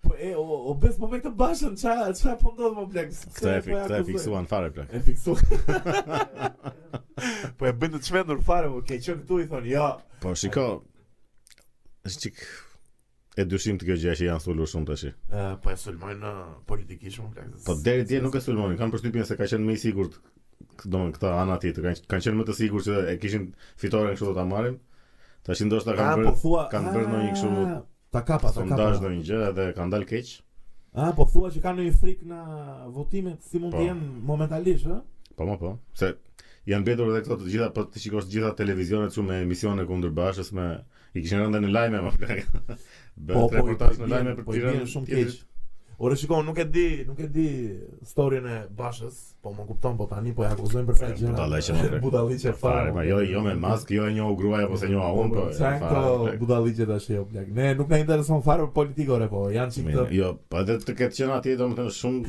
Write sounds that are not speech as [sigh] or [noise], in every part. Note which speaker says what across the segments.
Speaker 1: Po e, o, o bes po me këtë bashën, qa, qa po ndodhë më blek? Pse
Speaker 2: Këtë e,
Speaker 1: po
Speaker 2: fik, këtë e
Speaker 1: akuzoj?
Speaker 2: fiksuan fare plak.
Speaker 1: E fiksuar. [laughs] po e bën të çmendur fare, po ke qenë këtu i thon, jo.
Speaker 2: Po shiko, është çik e dyshim të kjo gjë që janë sulur shumë tash.
Speaker 1: Ë, po e sulmojnë ë, politikisht më plak.
Speaker 2: Po deri dje nuk e sulmonin, kanë përshtypjen se ka qenë më i sigurt. Domethënë këta ana tjetër kanë kanë qenë më të sigurt se e kishin fitoren kështu do ta marrin. Tash ndoshta
Speaker 1: Ah,
Speaker 2: kanë
Speaker 1: po
Speaker 2: bërë
Speaker 1: thua,
Speaker 2: kanë bërë ndonjë kështu
Speaker 1: ah, ta kapa, ta
Speaker 2: sondazh
Speaker 1: kapa.
Speaker 2: ndonjë gjë edhe kanë dalë keq.
Speaker 1: Ah, po thua që kanë një frikë në votimet si mund
Speaker 2: Po.
Speaker 1: të jenë momentalisht, ë?
Speaker 2: Po më po, se janë mbetur edhe këto të gjitha, po ti shikosh të gjitha televizionet këtu me emisione kundër bashës me i kishin rënë në lajme më plak. Bën
Speaker 1: Po, po,
Speaker 2: reportazh
Speaker 1: i
Speaker 2: në
Speaker 1: bjen-
Speaker 2: lajme për
Speaker 1: po i bjen
Speaker 2: Tiranën.
Speaker 1: shumë
Speaker 2: tjetër-
Speaker 1: keq. Ore shikoj, nuk e di, nuk e di storyn e Bashës, po më kupton, po tani po e akuzojnë për këtë
Speaker 2: E,
Speaker 1: gjë.
Speaker 2: budalliqe,
Speaker 1: [laughs]
Speaker 2: më frek.
Speaker 1: budalliqe
Speaker 2: Fare, ma jo, jo me mask, jo e njohu gruaja apo se njoha unë, po. e,
Speaker 1: Çan
Speaker 2: fare,
Speaker 1: këto
Speaker 2: plak.
Speaker 1: budalliqe tash jo plak. Ne nuk na intereson fare për politikë ore, po janë çik
Speaker 2: Mirë,
Speaker 1: të
Speaker 2: Jo, po edhe të ketë qenë atje domethënë shumë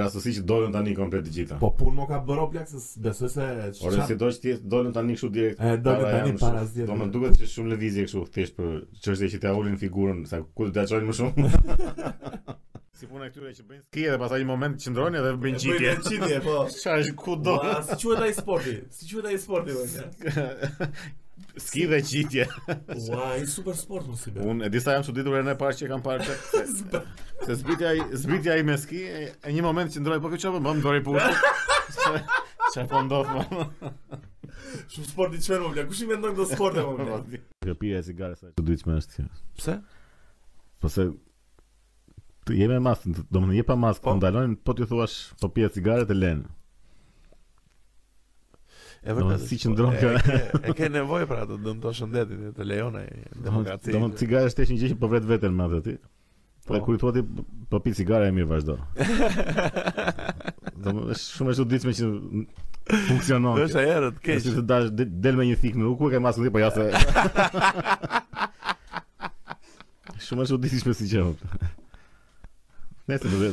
Speaker 2: rastësi që dolën tani komplet të gjitha.
Speaker 1: Po punë mo ka bërë o plak se s- besoj se
Speaker 2: Ore
Speaker 1: çfarë-
Speaker 2: si do që ti dolën tani kështu direkt.
Speaker 1: E, dolën tani
Speaker 2: janë,
Speaker 1: para
Speaker 2: shumë-
Speaker 1: zgjedhjeve.
Speaker 2: Do më duket që shumë lëvizje kështu thjesht për çështje që t'ia ulin figurën, sa ku të dashojnë më shumë. [laughs] si puna e këtyre që bëjnë ski dhe pastaj një moment qëndrojnë edhe bëjnë
Speaker 1: Bëjnë
Speaker 2: gjitje.
Speaker 1: Çitje, po.
Speaker 2: [laughs] Çfarë është ku do?
Speaker 1: Ua, Si quhet ai sporti? Si quhet ai sporti
Speaker 2: [laughs]
Speaker 1: vëlla?
Speaker 2: Ski dhe gjitje.
Speaker 1: Ua, i super sport mos i bë.
Speaker 2: Unë e disa jam çuditur herën e parë që e kam parë.
Speaker 3: [laughs]
Speaker 2: se- Se zbritja i zbritja i me ski e, e një moment qëndroi po kjo çfarë bën dori pushë.
Speaker 3: [laughs]
Speaker 2: Çfarë po ndodh më?
Speaker 1: Shumë sport i çfarë më bla. Kush i mendon këto sporte
Speaker 2: [laughs]
Speaker 1: më bla?
Speaker 2: Kjo pirja e cigares sa e çuditshme është kjo.
Speaker 1: Pse?
Speaker 2: Po se të jemi me maskë, do më jepa maskë,
Speaker 1: Po.
Speaker 2: po ndalojnë, po t'ju thuash, po pije cigare të lenë.
Speaker 3: E
Speaker 2: Do
Speaker 3: vërtet.
Speaker 2: si që ndronë
Speaker 3: e
Speaker 2: kjo.
Speaker 3: ke- E ke nevojë pra të dëmton shëndetin e të lejonaj demokraci.
Speaker 2: Do më cigare është një gjë që po vret veten me atë ti. Po
Speaker 3: Po.
Speaker 2: kur i thua ti po pi cigare e mirë
Speaker 3: [laughs]
Speaker 2: vazhdo. Do më është shumë e çuditshme që funksionon.
Speaker 3: Është
Speaker 2: kjo.
Speaker 3: herët keq.
Speaker 2: Është si të dash del- del me një thik në rrugë, ku e ke maskën ti, po ja
Speaker 3: [laughs]
Speaker 2: se. Shumë e çuditshme si gjë. Nëse do të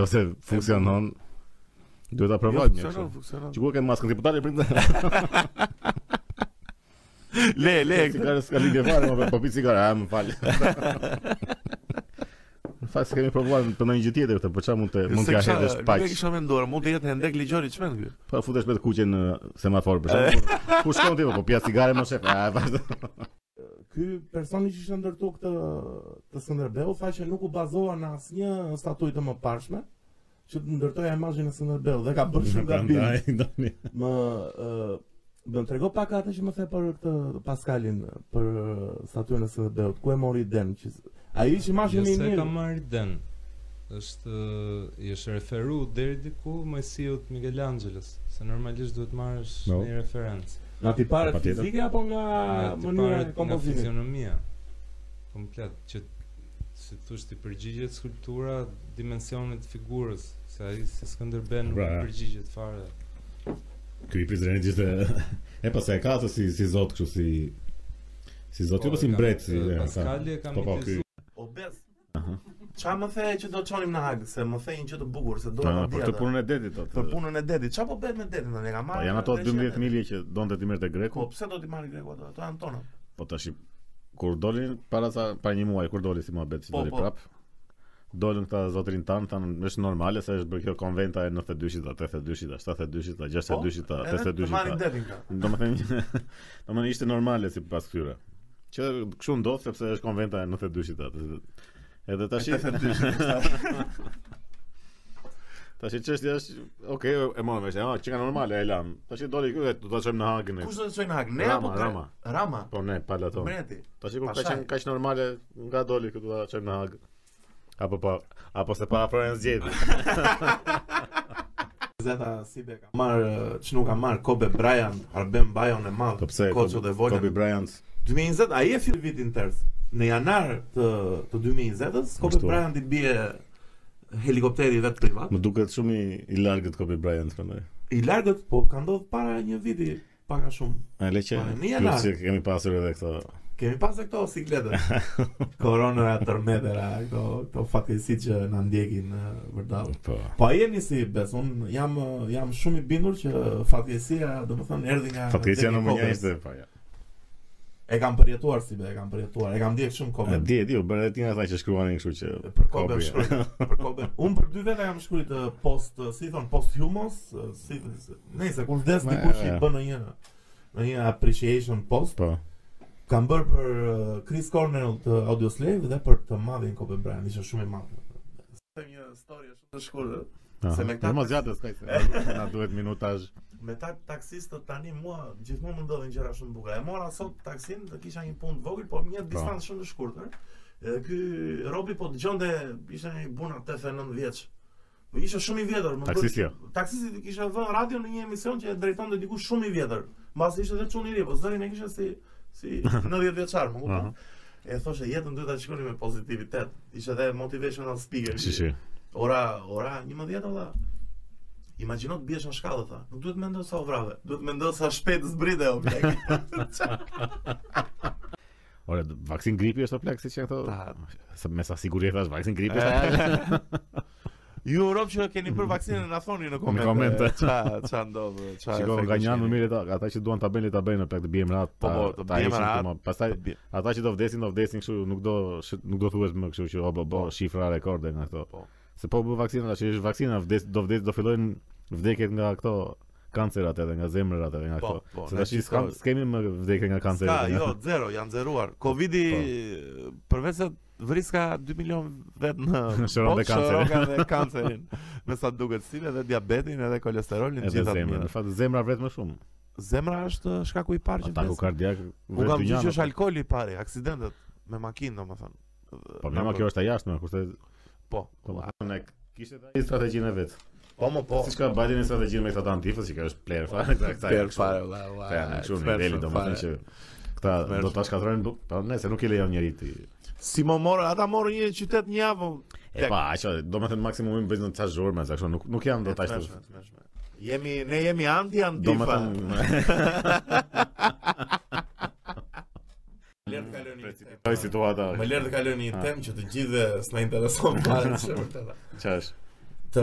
Speaker 2: nëse funksionon, duhet ta provojmë. një
Speaker 3: Jo, funksionon,
Speaker 2: kështu.
Speaker 3: funksionon.
Speaker 2: Që ku e ke maskën ti po dalë prit.
Speaker 3: Le, le. këtë-
Speaker 2: Cigare Po s'ka lidhje fare, më po pi cigare, a më fal. Në fakt s'kemi provuar për ndonjë gjë tjetër këtë, po çfarë mund të mund
Speaker 3: Se
Speaker 2: të
Speaker 3: kisha-
Speaker 2: hedhësh
Speaker 3: Nuk e
Speaker 2: paq.
Speaker 3: kisha menduar, mund të jetë hendek ligjori çmend ky.
Speaker 2: Po futesh me të kuqen në semafor për shembull. Ku shkon ti po pija cigare më shef. A vazhdo.
Speaker 1: Ky personi që ishte ndërtu këtë të Skënderbeu tha që nuk u bazova në asnjë statutë të mëparshme që të ndërtoja imazhin e Skënderbeut dhe ka bërë
Speaker 2: [laughs]
Speaker 1: shumë gabim.
Speaker 2: Prandaj, ndonjë.
Speaker 1: Më ë do të trego pak atë që më the për këtë Pascalin për statuen e Skënderbeut. Ku e mori den që ai që mashin më i
Speaker 4: se ka
Speaker 1: mirë.
Speaker 4: marrë den. Është i është referu deri diku mësiut Michelangelos, se normalisht duhet marrësh
Speaker 2: No.
Speaker 4: një referencë.
Speaker 1: Nga tipare
Speaker 2: Patjetër.
Speaker 1: fizike apo nga
Speaker 4: Nga të
Speaker 1: mënyra
Speaker 4: parët,
Speaker 1: e
Speaker 4: nga
Speaker 1: kompozimit?
Speaker 4: Fizionomia. Komplet që si thush ti përgjigjet skulptura dimensionit të figurës, se ai si Skënderben nuk
Speaker 2: Pra.
Speaker 4: i përgjigjet fare.
Speaker 2: Ky i Prizrenit ishte e pas e ka atë si si zot kështu si si zot jo po si
Speaker 4: e kam-
Speaker 2: mbret si
Speaker 4: e,
Speaker 2: e, ka.
Speaker 4: Pascali e kam
Speaker 2: Po, po, ky-
Speaker 4: mitizuar.
Speaker 1: O bes. Qa më the që do të qonim në hagë, se më the një që të bukur, se do
Speaker 2: Po,
Speaker 1: të
Speaker 2: për këtë punën e detit thotë.
Speaker 1: për punën e detit. Çfarë po bëhet me detin tani? Ka
Speaker 2: Po
Speaker 1: marrë.
Speaker 2: janë ato 12 milje që donte ti merrte greku.
Speaker 1: Po pse do t'i marrë greku ato? Ato janë tona.
Speaker 2: Po tash i- kur dolin para sa para një muaji kur doli si muhabet si
Speaker 1: Po,
Speaker 2: doli
Speaker 1: po.
Speaker 2: prap. Dolën këta zotrin tan, tan, është normale se është bërë kjo konventa e 92-shit, a 82-shit, a 72-shit, a 62-shit, a
Speaker 1: Po, Edhe të marrin
Speaker 2: 82-shit.
Speaker 1: detin ka.
Speaker 2: Domethënë, [laughs] domethënë ishte normale sipas këtyre. Që kështu ndodh sepse është konventa e 92-shit atë. Edhe tash [laughs] tash çështja është, okay, e morëm vesh, ah, çka normale e lam. Tash doli këtu, do ta çojmë në Hagën. e-
Speaker 1: Kush do të çojë në hagë? Ne
Speaker 2: Rama,
Speaker 1: apo
Speaker 2: Rama.
Speaker 1: Rama? Rama.
Speaker 2: Po ne, palaton. [laughs]
Speaker 1: Breti.
Speaker 2: Tash kur ka
Speaker 1: Pastaj.
Speaker 2: qenë kaq normale, nga doli këtu ta çojmë në Hag. Apo pa, apo se pa afrojnë zgjedhje.
Speaker 1: Zeta Sibe ka marr ç'nu ka marr Kobe Bryant, Arben Bajon e madh,
Speaker 2: Po pse?
Speaker 1: Koço dhe Volën.
Speaker 2: Kobe Bryant.
Speaker 1: 2020 ai e fill vitin tërës. Në janar të të 2020-s Kobe
Speaker 2: Ashtu.
Speaker 1: Bryant i bie helikopteri vetë privat.
Speaker 2: Më duket shumë i, i largët Kobe Bryant prandaj.
Speaker 1: I largët, po ka ndodhur para një viti pak a shumë.
Speaker 2: A le që
Speaker 1: Po, në
Speaker 2: plus
Speaker 1: janar.
Speaker 2: që kemi pasur edhe këto
Speaker 1: Kemi pas e këto
Speaker 2: [laughs]
Speaker 1: sikletë. Koronëra, tërmetëra, këto këto fatkesi që na ndjekin ë, vërdall.
Speaker 2: Po.
Speaker 1: Po jeni si bes, un jam ë, jam shumë i bindur që fatkesia, domethënë erdhi nga
Speaker 2: Fatkeqësia
Speaker 1: Deni
Speaker 2: numër 1
Speaker 1: Kovës.
Speaker 2: ishte po ja.
Speaker 1: E kam përjetuar si be, e kam përjetuar. E kam ndjek shumë
Speaker 2: A
Speaker 1: kohë.
Speaker 2: di, e di, u bën edhe ata që shkruanin kështu që
Speaker 1: Për kohë
Speaker 2: Kopi, ja.
Speaker 1: shkruaj. Për kohë. Un për dy veta kam shkruajt ë, post, ë, si thon, post humos, ë, si nëse kur vdes
Speaker 2: Ma,
Speaker 1: dikush i
Speaker 2: ja.
Speaker 1: bën ndonjë ndonjë appreciation post,
Speaker 2: Po.
Speaker 1: kam bërë për ë, Chris Cornell të Audioslave dhe për të madhin Kobe Bryant, ishte shumë i madh. Them një story shumë të shkurtër. Se me këta-
Speaker 2: Aha. mos gjatë skaj. Na duhet minutazh.
Speaker 1: Me ta taksistët tani mua gjithmonë më ndodhin gjëra shumë bukura. E mora sot taksin, do kisha një punë të vogël, po një distancë shumë të shkurtër. Edhe ky Robi po dëgjonte ishte një buna 89 vjeç. Po ishte shumë i vjetër, më
Speaker 2: Taksisti, jo.
Speaker 1: Taksisti kishte vënë radio në një emision që e drejtonte diku shumë i vjetër. Mbas ishte edhe çun i ri, po zërin e kishte si
Speaker 2: [laughs]
Speaker 1: si 90 vjeçar, më kupton.
Speaker 2: Aha.
Speaker 1: E thoshe jetën duhet ta shikoni me pozitivitet. Ishte edhe motivational speaker.
Speaker 2: Si si.
Speaker 1: Ora, ora 11 valla. Imagjino të biesh në shkallë tha. Nuk duhet mendoj sa u vrave, duhet mendoj sa shpejt zbrite o blek.
Speaker 5: [laughs]
Speaker 2: Ore, d- vaksin gripi është o plak si që janë këto.
Speaker 5: Ta-
Speaker 2: Se me sa siguri e thash, vaksin gripi është.
Speaker 5: E,
Speaker 1: Ju në Europë që keni për vaksinën na thoni në komente.
Speaker 2: Në
Speaker 5: [laughs]
Speaker 2: komente.
Speaker 5: Ça ça ndodh? Ça
Speaker 2: Shiko,
Speaker 5: efekte
Speaker 2: nga një
Speaker 5: që
Speaker 2: anë më
Speaker 5: keni?
Speaker 2: mirë ata, ata që duan ta bëjnë le ta bëjnë plak të bijem rat.
Speaker 5: Po, po, të bijem rahat,
Speaker 2: Pastaj
Speaker 5: të bie-
Speaker 2: ata që do vdesin, do vdesin kështu, nuk do sh- nuk do thuhet më kështu që o bo, bo shifra rekorde nga këto.
Speaker 5: Po.
Speaker 2: Se po bë vaksina, tash është vaksina, vdes do vdes do fillojnë vdekjet nga këto kancerat edhe nga zemrat edhe nga
Speaker 5: Po,
Speaker 2: këto.
Speaker 5: po,
Speaker 2: Se
Speaker 5: ne
Speaker 2: tash
Speaker 5: gjithë
Speaker 2: s'kam
Speaker 5: kohë-
Speaker 2: s'kemi më vdekje nga
Speaker 5: Ska,
Speaker 2: kancerat.
Speaker 5: jo, zero, janë zeruar. Covidi
Speaker 2: Po.
Speaker 5: përveç se vris ka 2 milion vet në
Speaker 2: [laughs] Shëron
Speaker 5: botë,
Speaker 2: dhe kancerin.
Speaker 5: shëron
Speaker 2: [laughs]
Speaker 5: dhe kancerin. Me sa duket si edhe diabetin edhe kolesterolin
Speaker 2: Edhe
Speaker 5: gjithë atë
Speaker 2: zemra. Në
Speaker 5: mirë.
Speaker 2: fakt zemra vret më shumë.
Speaker 5: Zemra është shkaku i parë që
Speaker 2: Ataku
Speaker 5: vdes.
Speaker 2: kardiak
Speaker 5: Unë
Speaker 2: vret
Speaker 5: kam
Speaker 2: dynjan.
Speaker 5: gjithë që është alkoholi i pari, aksidentet me makinë domethënë.
Speaker 2: Po më kjo është e jashtme, kurse
Speaker 5: Po.
Speaker 2: po ne kishte ai strategjinë e vet.
Speaker 1: Po mo po.
Speaker 2: Siç ka Biden në strategjinë me këta të antifës, që kjo është player fare këta. këta-
Speaker 5: Per fare, valla,
Speaker 2: Këta
Speaker 1: Ah,
Speaker 2: janë kështu në niveli, domethënë që këta do ta shkatërrojnë, bu- po nëse nuk i lejon njëri ti.
Speaker 5: Si më morë, ata morën një qytet një javë.
Speaker 2: E pa, aqo, domethënë maksimumi bëjnë ca zhurmë, më kështu, nuk nuk janë do Po, ta
Speaker 5: të
Speaker 2: ashtu.
Speaker 5: shtu. Jemi, ne jemi anti antifa.
Speaker 2: [laughs] Domethënë
Speaker 1: Lër të kaloni. një temë.
Speaker 2: kjo situata
Speaker 1: Më lër të kaloni një temë që të gjithëve s'na
Speaker 5: [laughs]
Speaker 1: intereson fare që vërtet.
Speaker 2: çfarë është. [laughs]
Speaker 1: Të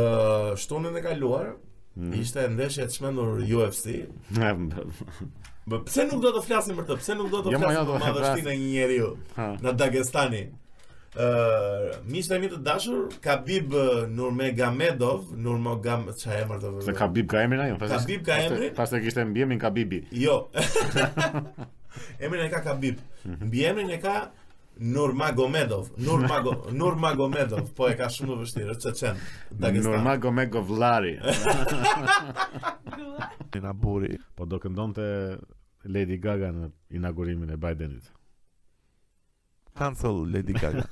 Speaker 1: shtunën e kaluar
Speaker 2: Mhm.
Speaker 1: ishte ndeshje të shmendur UFC. Bë, pse nuk do të flasim për të? Pse nuk do të
Speaker 2: Jo, ma, jo,
Speaker 1: flasim
Speaker 2: do
Speaker 1: për
Speaker 2: të
Speaker 1: madhështinë e një njeriu
Speaker 2: Ha.
Speaker 1: në Dagestani? Ë, miqtë e mi të dashur, Khabib ë, Nurmagomedov, Nurmagam, çfarë emër të
Speaker 2: Se Khabib ka emrin ajo. pastaj-
Speaker 1: Khabib ka
Speaker 2: pastaj-
Speaker 1: emrin?
Speaker 2: Pastaj kishte mbjemin Khabibi.
Speaker 1: Jo. [laughs] emrin e ka Khabib.
Speaker 5: Mhm.
Speaker 1: Mbi emrin e ka Nurmagomedov. Nurmago
Speaker 5: [laughs]
Speaker 1: Nurmagomedov, po e ka shumë të vështirë, është çeçen. Dagestan.
Speaker 2: Nurmagomedov
Speaker 1: [laughs]
Speaker 2: Lari.
Speaker 5: Na buri.
Speaker 2: Po do këndonte Lady Gaga në inaugurimin e Bidenit.
Speaker 5: Cancel Lady
Speaker 1: [laughs]
Speaker 5: Gaga.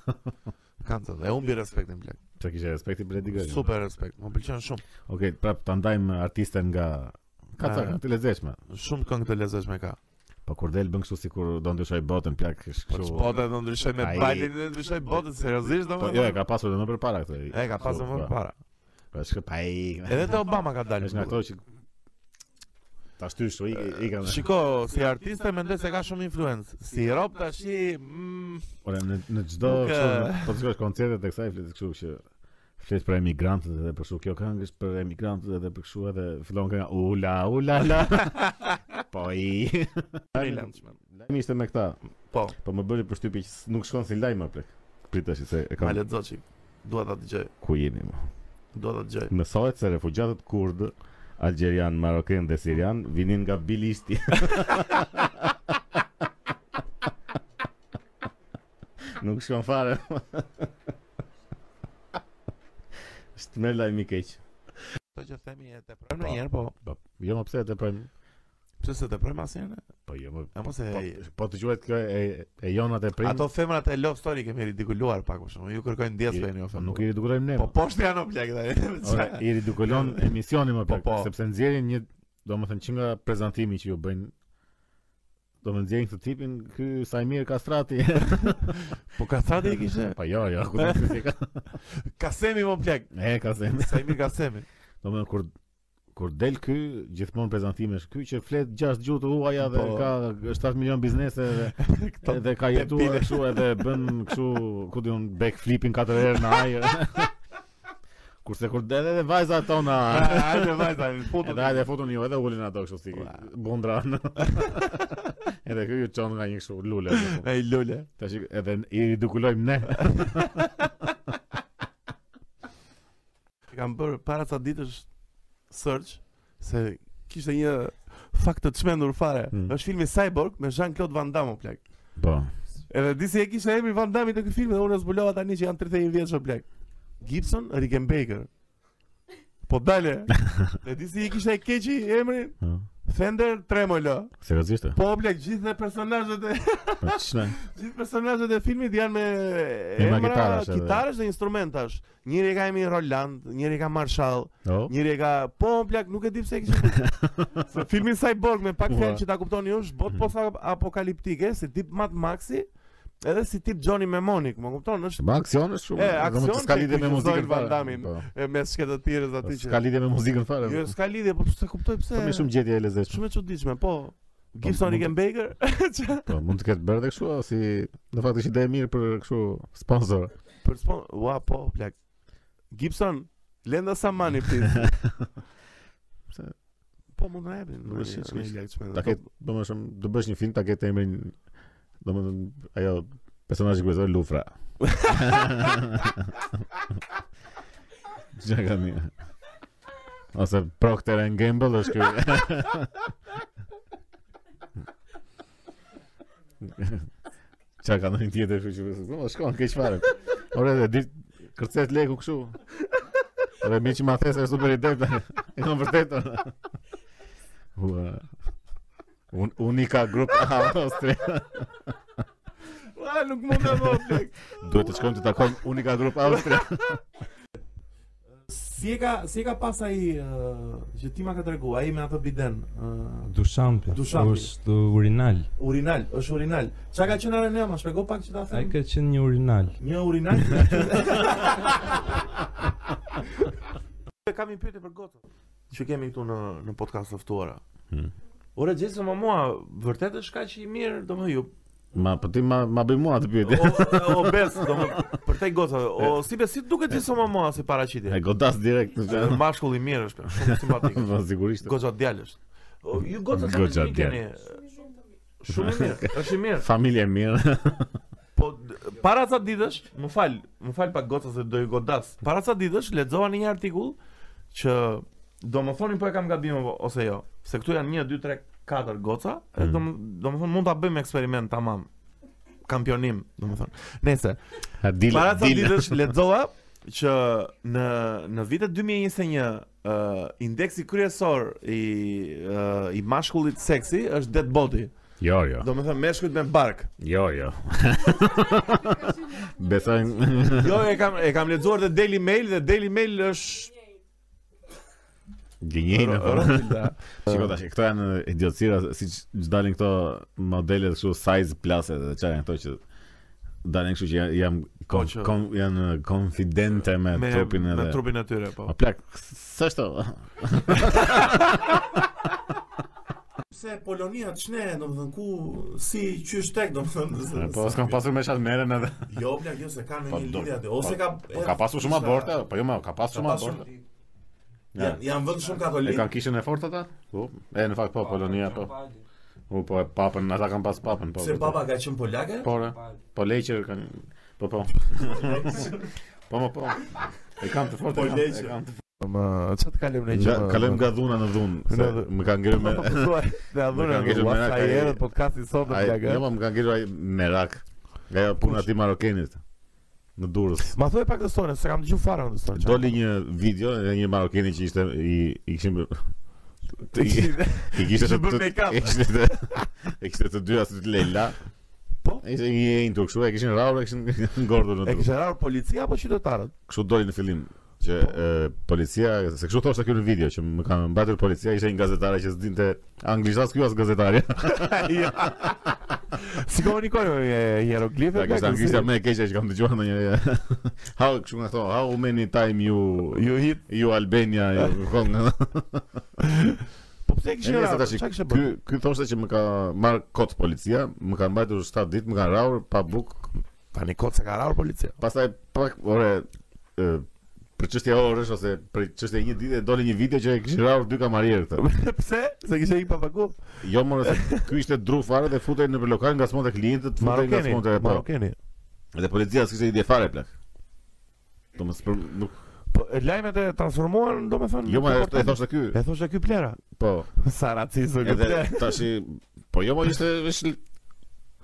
Speaker 5: Cancel. E humbi respektin plak.
Speaker 2: Pse kishte respekti për Lady Gaga.
Speaker 5: Super respekt. Më pëlqen shumë.
Speaker 2: Okej, prap ta ndajmë artisten nga ka ca
Speaker 5: Ah.
Speaker 2: këngë të lezetshme.
Speaker 5: Shumë këngë të lezeshme ka.
Speaker 2: Po kur del bën kështu sikur do ndryshoj botën plak është
Speaker 5: Po
Speaker 2: kështu.
Speaker 5: çfarë do ndryshoj me
Speaker 2: Ai-
Speaker 5: Biden, do ndryshoj botën seriozisht
Speaker 2: Po
Speaker 5: domethënë.
Speaker 2: jo, e ka pasur edhe më përpara këtë.
Speaker 5: E ka pasur më para.
Speaker 2: Po është pa i. [laughs]
Speaker 5: Edhe E te Obama ka dalë.
Speaker 2: Është nga ato që ta shtysh u i kanë.
Speaker 5: Shiko, si artiste mendoj se ka shumë influencë. Si rop tash i mm,
Speaker 2: Ora në në çdo
Speaker 5: Nuk,
Speaker 2: kështu
Speaker 5: eh.
Speaker 2: në- po shikosh koncerte të kësaj flet kështu që flet për emigrantët edhe për kështu kjo këngë është për emigrantët edhe për kështu edhe fillon kënga ula ula la.
Speaker 5: [laughs]
Speaker 2: po i.
Speaker 5: freelance.
Speaker 2: Lajmi ishte me këta.
Speaker 5: Po,
Speaker 2: Po më bëri përshtypje që s- nuk shkon si lajm apo. Pritesh se e
Speaker 5: ma
Speaker 2: kam
Speaker 5: lexo çik. Dua ta dëgjoj,
Speaker 2: ku jemi më.
Speaker 5: dua ta dëgjoj.
Speaker 2: Mësohet se refugjatët kurd, algerian, marokan dhe sirian vinin nga Bilisti. [laughs] Nuk shkon fare. [laughs] Është më lajmi keq.
Speaker 5: Kto që themi e teprojmë në herë, po.
Speaker 2: Po, jo më pse të prem.
Speaker 5: Pse se teprojmë asnjëherë?
Speaker 2: Po jo më.
Speaker 5: E mos e
Speaker 2: Po, po të quhet kjo e, e jonat e prim.
Speaker 5: Ato femrat e Love Story kemi ridikuluar pak për shumë. Ju kërkojnë ndjesë për një
Speaker 2: po
Speaker 5: ofë.
Speaker 2: nuk i ridikulojmë ne.
Speaker 5: Po poshtë janë o plak
Speaker 2: e Ora, e-
Speaker 5: tani.
Speaker 2: i ridikulon emisioni më
Speaker 5: Po,
Speaker 2: pak,
Speaker 5: po.
Speaker 2: sepse nxjerrin një, domethënë që nga prezantimi që ju bëjnë do më nxjerrin këtë tipin, ky Sajmir Kastrati.
Speaker 5: Po Kasati e kishte.
Speaker 2: po jo, jo, ku do të si ka. [laughs]
Speaker 5: Kasemi më plak.
Speaker 2: E ka se.
Speaker 5: Sa i mirë Kasemi.
Speaker 2: Domethënë kur Kur del ky, gjithmonë prezantimesh ky që flet 6 gjuhë të huaja dhe
Speaker 1: Po.
Speaker 2: ka 7 milion biznese dhe
Speaker 1: Këto
Speaker 2: edhe ka jetuar kështu edhe bën kështu, ku diun, backflipin 4 herë në ajër. Kurse kur del edhe vajza tona, [laughs]
Speaker 1: [laughs] Hajde vajta, futu.
Speaker 2: edhe hajde fotun ju, edhe ulin ato kështu si
Speaker 1: [laughs]
Speaker 2: bundra. [laughs] edhe ky ju çon nga një kështu lule. kështu.
Speaker 1: Ai lule.
Speaker 2: Tash i- edhe i ridikulojmë
Speaker 1: [laughs]
Speaker 2: ne.
Speaker 1: Kam bërë para ca ditësh search se kishte një fakt të çmendur fare.
Speaker 2: Hmm.
Speaker 1: Është filmi Cyborg me Jean-Claude Van Damme o plak.
Speaker 2: Po.
Speaker 1: Edhe di si e kishte emrin Van Damme në këtë film dhe unë e zbulova tani që janë 31 vjeç o plak. Gibson Rickenbacker. Po
Speaker 2: [laughs]
Speaker 1: dale. Dhe di si e kishte e keqi emrin
Speaker 2: Ëh,
Speaker 1: Fender Tremolo.
Speaker 2: po. Seriozisht? e?
Speaker 1: Po o plak gjithë personazhet e
Speaker 2: Po ç'ne?
Speaker 1: Gjithë personazhet e filmit janë me
Speaker 2: Me
Speaker 1: emra,
Speaker 2: maketarash edhe.
Speaker 1: kitarësh dhe instrumentash. Njëri e ka emrin Roland, njëri e ka Marshall,
Speaker 2: Po.
Speaker 1: njëri e ka po plak nuk e di pse e kishin.
Speaker 2: [laughs]
Speaker 1: Se filmi Cyborg me pak
Speaker 2: Ua. Mm.
Speaker 1: fjalë që ta kuptoni ju, është botë posa apokaliptike, si tip Mad Maxi, edhe si tip Johnny Mnemonic, më kupton? Është
Speaker 2: Ba aksion është
Speaker 1: E,
Speaker 2: shumë. domethënë,
Speaker 1: aksion
Speaker 2: s'ka lidhje
Speaker 1: tek
Speaker 2: me
Speaker 1: ku
Speaker 2: muzikën
Speaker 1: qëzojnë Van
Speaker 2: fare.
Speaker 1: Damme-in.
Speaker 2: Po.
Speaker 1: e me shkëdëtirës aty që.
Speaker 2: S'ka lidhje me muzikën fare.
Speaker 1: Jo, s'ka lidhje, po s'e kuptoj pse.
Speaker 2: Shumë shumë gjetje e
Speaker 1: [laughs]
Speaker 2: lezetshme.
Speaker 1: shumë e çuditshme, po. Gibson
Speaker 2: mund-
Speaker 1: Rickenbacker,
Speaker 2: Po, mund të ketë bërë edhe kështu o, si në fakt është ide e mirë për kështu sponsor.
Speaker 1: Për spon, ua po, plak. Gibson, lenda sa mani prit.
Speaker 2: [laughs] Pse?
Speaker 1: Po mund na japin.
Speaker 2: Nuk është
Speaker 1: ne- ne
Speaker 2: siç-
Speaker 1: i lajmë çmendë.
Speaker 2: Ta ketë, domethënë, do bësh një film ta ketë emrin domethënë ajo personazhi kryesor Lufra. Gjaka mirë. Ose Procter and Gamble është ky. Qa ka ndonjë tjetër kështu që "Po, shkon keq fare. Ore dhe dit kërces leku kështu. Ore mi që ma thesë është super ide. [laughs] E kam vërtet. ore. Ua. Un, unika grup Austria.
Speaker 1: Ua, nuk mund ta bëj plak.
Speaker 2: Duhet të shkojmë të takojmë unika grup Austria.
Speaker 3: [laughs] Si e ka, si e ka pas ai ë, që ti ma ka tregu, ai me atë biden, ë,
Speaker 4: Dushampi,
Speaker 3: Dushampi.
Speaker 4: është urinal.
Speaker 3: urinal, është urinal. Çka ka qenë Arena, ma shpjegoj pak që ta
Speaker 4: Ai
Speaker 3: them.
Speaker 4: ka qenë një urinal.
Speaker 3: Një urinal.
Speaker 1: E [laughs] kam një pyetje për gotën. Që kemi këtu në në podcast të ftuara.
Speaker 2: Hmm.
Speaker 1: Ora Jason Momoa vërtet është kaq i mirë, domethënë
Speaker 3: jo,
Speaker 1: ju.
Speaker 2: Ma po ti ma ma bëj mua atë pyetje.
Speaker 1: [laughs] O, o bes, domethënë për te gota. O si bes si duket Jason Momoa si
Speaker 2: E
Speaker 1: paraqitje?
Speaker 2: godas direkt në
Speaker 1: Është Mashkull i mirë është, plak, shumë simpatik. [laughs]
Speaker 2: Po sigurisht.
Speaker 1: Goxha djalë është. O, Ju goxha
Speaker 2: Goxha
Speaker 1: djalë keni. Shumë i mirë, është i mirë.
Speaker 2: Familje e mirë.
Speaker 1: Po d- para ca ditësh, më fal, më fal pak gocë se do ju godas. Para ca ditësh lexova në një artikull që do më thonin po e kam gabim apo- ose jo, se këtu janë 1 2 3 4 goca, e do më, do më thonë mund ta bëjmë eksperiment tamam. Kampionim, do më thonë. Nëse
Speaker 2: Ha dil.
Speaker 1: para ca
Speaker 2: dil.
Speaker 1: ditësh lexova që në në vitet 2021 Uh, indeksi kryesor i uh, i mashkullit seksi është dead body.
Speaker 2: Jo, jo.
Speaker 1: Do të thënë meshkujt me bark.
Speaker 2: Jo, jo. Besoj
Speaker 1: [laughs] Jo, e kam e kam lexuar te Daily Mail dhe Daily Mail është
Speaker 2: gënjejnë. po.
Speaker 1: Ro- Rothschilda.
Speaker 2: Shiko tash, këto janë idiotësira siç dalin këto modele kështu size plase dhe çfarë janë këto që dalin kështu që janë jam
Speaker 1: Po,
Speaker 2: kon,
Speaker 1: që-
Speaker 2: kon, janë konfidente [laughs] me,
Speaker 1: me
Speaker 2: trupin edhe.
Speaker 1: me trupin e tyre po.
Speaker 2: Ma plak, s'është.
Speaker 3: Pse Polonia ç'ne, domethënë ku si qysh tek domethënë. se-
Speaker 2: Po s'kam pasur me çatmerën edhe.
Speaker 3: Jo, bla, jo se ka në
Speaker 2: Po,
Speaker 3: një
Speaker 2: do-
Speaker 3: lidhje aty. Ose ka
Speaker 2: Po ka pasur shumë aborte, po jo më, ka pasur
Speaker 3: Ka
Speaker 2: shumë
Speaker 3: pasur
Speaker 2: aborte.
Speaker 3: Ja, janë vend shumë katolik.
Speaker 2: E kanë kishën e fortë ata? Po. E në fakt po Polonia po. U po e papën, ata kanë pas papën po.
Speaker 3: Se papa ka qenë polake?
Speaker 2: Po. re. Po leqer kanë Po [laughs] po. Po më po. E kanë të fortë.
Speaker 3: Po,
Speaker 2: e kanë-
Speaker 3: leqer.
Speaker 2: E kanë Po, të fortë.
Speaker 1: Ma çat kalem ne
Speaker 2: Nga, kalojmë nga dhuna në dhunë. se
Speaker 1: [laughs] Në-
Speaker 2: Më kanë ngelur
Speaker 1: Po,
Speaker 2: me [laughs]
Speaker 1: Ne
Speaker 2: Me
Speaker 1: adhunë
Speaker 2: kanë ngjitur
Speaker 1: ua,
Speaker 2: merak
Speaker 1: sa
Speaker 2: ai-
Speaker 1: herët podcasti sot do
Speaker 2: ai,
Speaker 1: plagë.
Speaker 2: jo më më kanë ngelur ai merak. Nga ajo puna e atij marokenit në Durrës.
Speaker 1: Ma thoj pak të stonë, se kam dëgjuar fare unë të stonë.
Speaker 2: Doli një video e një marokeni që ishte i i kishin
Speaker 1: [laughs]
Speaker 2: i [laughs] i kishte
Speaker 1: Ishte
Speaker 2: të
Speaker 1: bërë
Speaker 2: të
Speaker 1: make-up.
Speaker 2: i kishte të [laughs] e kishte të dyja si të Leila.
Speaker 1: Po?
Speaker 2: Ishte një e intu kështu, e kishin [laughs] rrahur, e kishin ngordhur
Speaker 1: E
Speaker 2: në
Speaker 1: kishte rarë policia apo qytetarët?
Speaker 2: Kështu doli në fillim që e, policia, se kështu thoshte ky në video që më kanë
Speaker 1: [laughs]
Speaker 2: mbajtur policia, ishte një gazetare që s'dinte anglisht as ky as gazetari.
Speaker 1: Ja. Si komunikojnë me hieroglifet?
Speaker 2: Ja, ka
Speaker 1: ka
Speaker 2: qenë
Speaker 1: si-
Speaker 2: kisha më e keqe që kam dëgjuar ndonjëherë.
Speaker 1: [laughs]
Speaker 2: How kështu nga thonë, how many time you
Speaker 1: Ju hit.
Speaker 2: you Albania you Kong.
Speaker 1: [laughs] Po pse
Speaker 2: E
Speaker 1: kishin
Speaker 2: nesër
Speaker 1: rahat?
Speaker 2: tash
Speaker 1: Çka kishte
Speaker 2: ky
Speaker 1: bërë?
Speaker 2: ky thoshte që më ka marr kot policia, më ka mbajtur 7 ditë, më kanë rrahur pa buk.
Speaker 1: Tani kot se ka rarë
Speaker 2: [laughs]
Speaker 1: policia.
Speaker 2: Pastaj pak ore e, për çështje orësh ose për çështje një dite doli një video që e kishin rrahur dy kamarierë këtë.
Speaker 1: pse? Se kishte i pa pagu.
Speaker 2: Jo more se ky ishte dru fare dhe futej në lokal nga smonte klientët, futej nga
Speaker 1: Marokeni,
Speaker 2: smonte po.
Speaker 1: Marokeni.
Speaker 2: Dhe policia s'kishte ide fare plak. Domos për nuk
Speaker 1: Po e, lajmet e transformuan, domethënë.
Speaker 2: jo më
Speaker 1: në
Speaker 2: e
Speaker 1: reportaj.
Speaker 2: thoshte ky.
Speaker 1: E thoshte ky
Speaker 2: [laughs]
Speaker 1: plera.
Speaker 2: Po.
Speaker 1: Sa racizë ky
Speaker 2: Edhe
Speaker 1: plera.
Speaker 2: tashi po jo më ishte vesh l-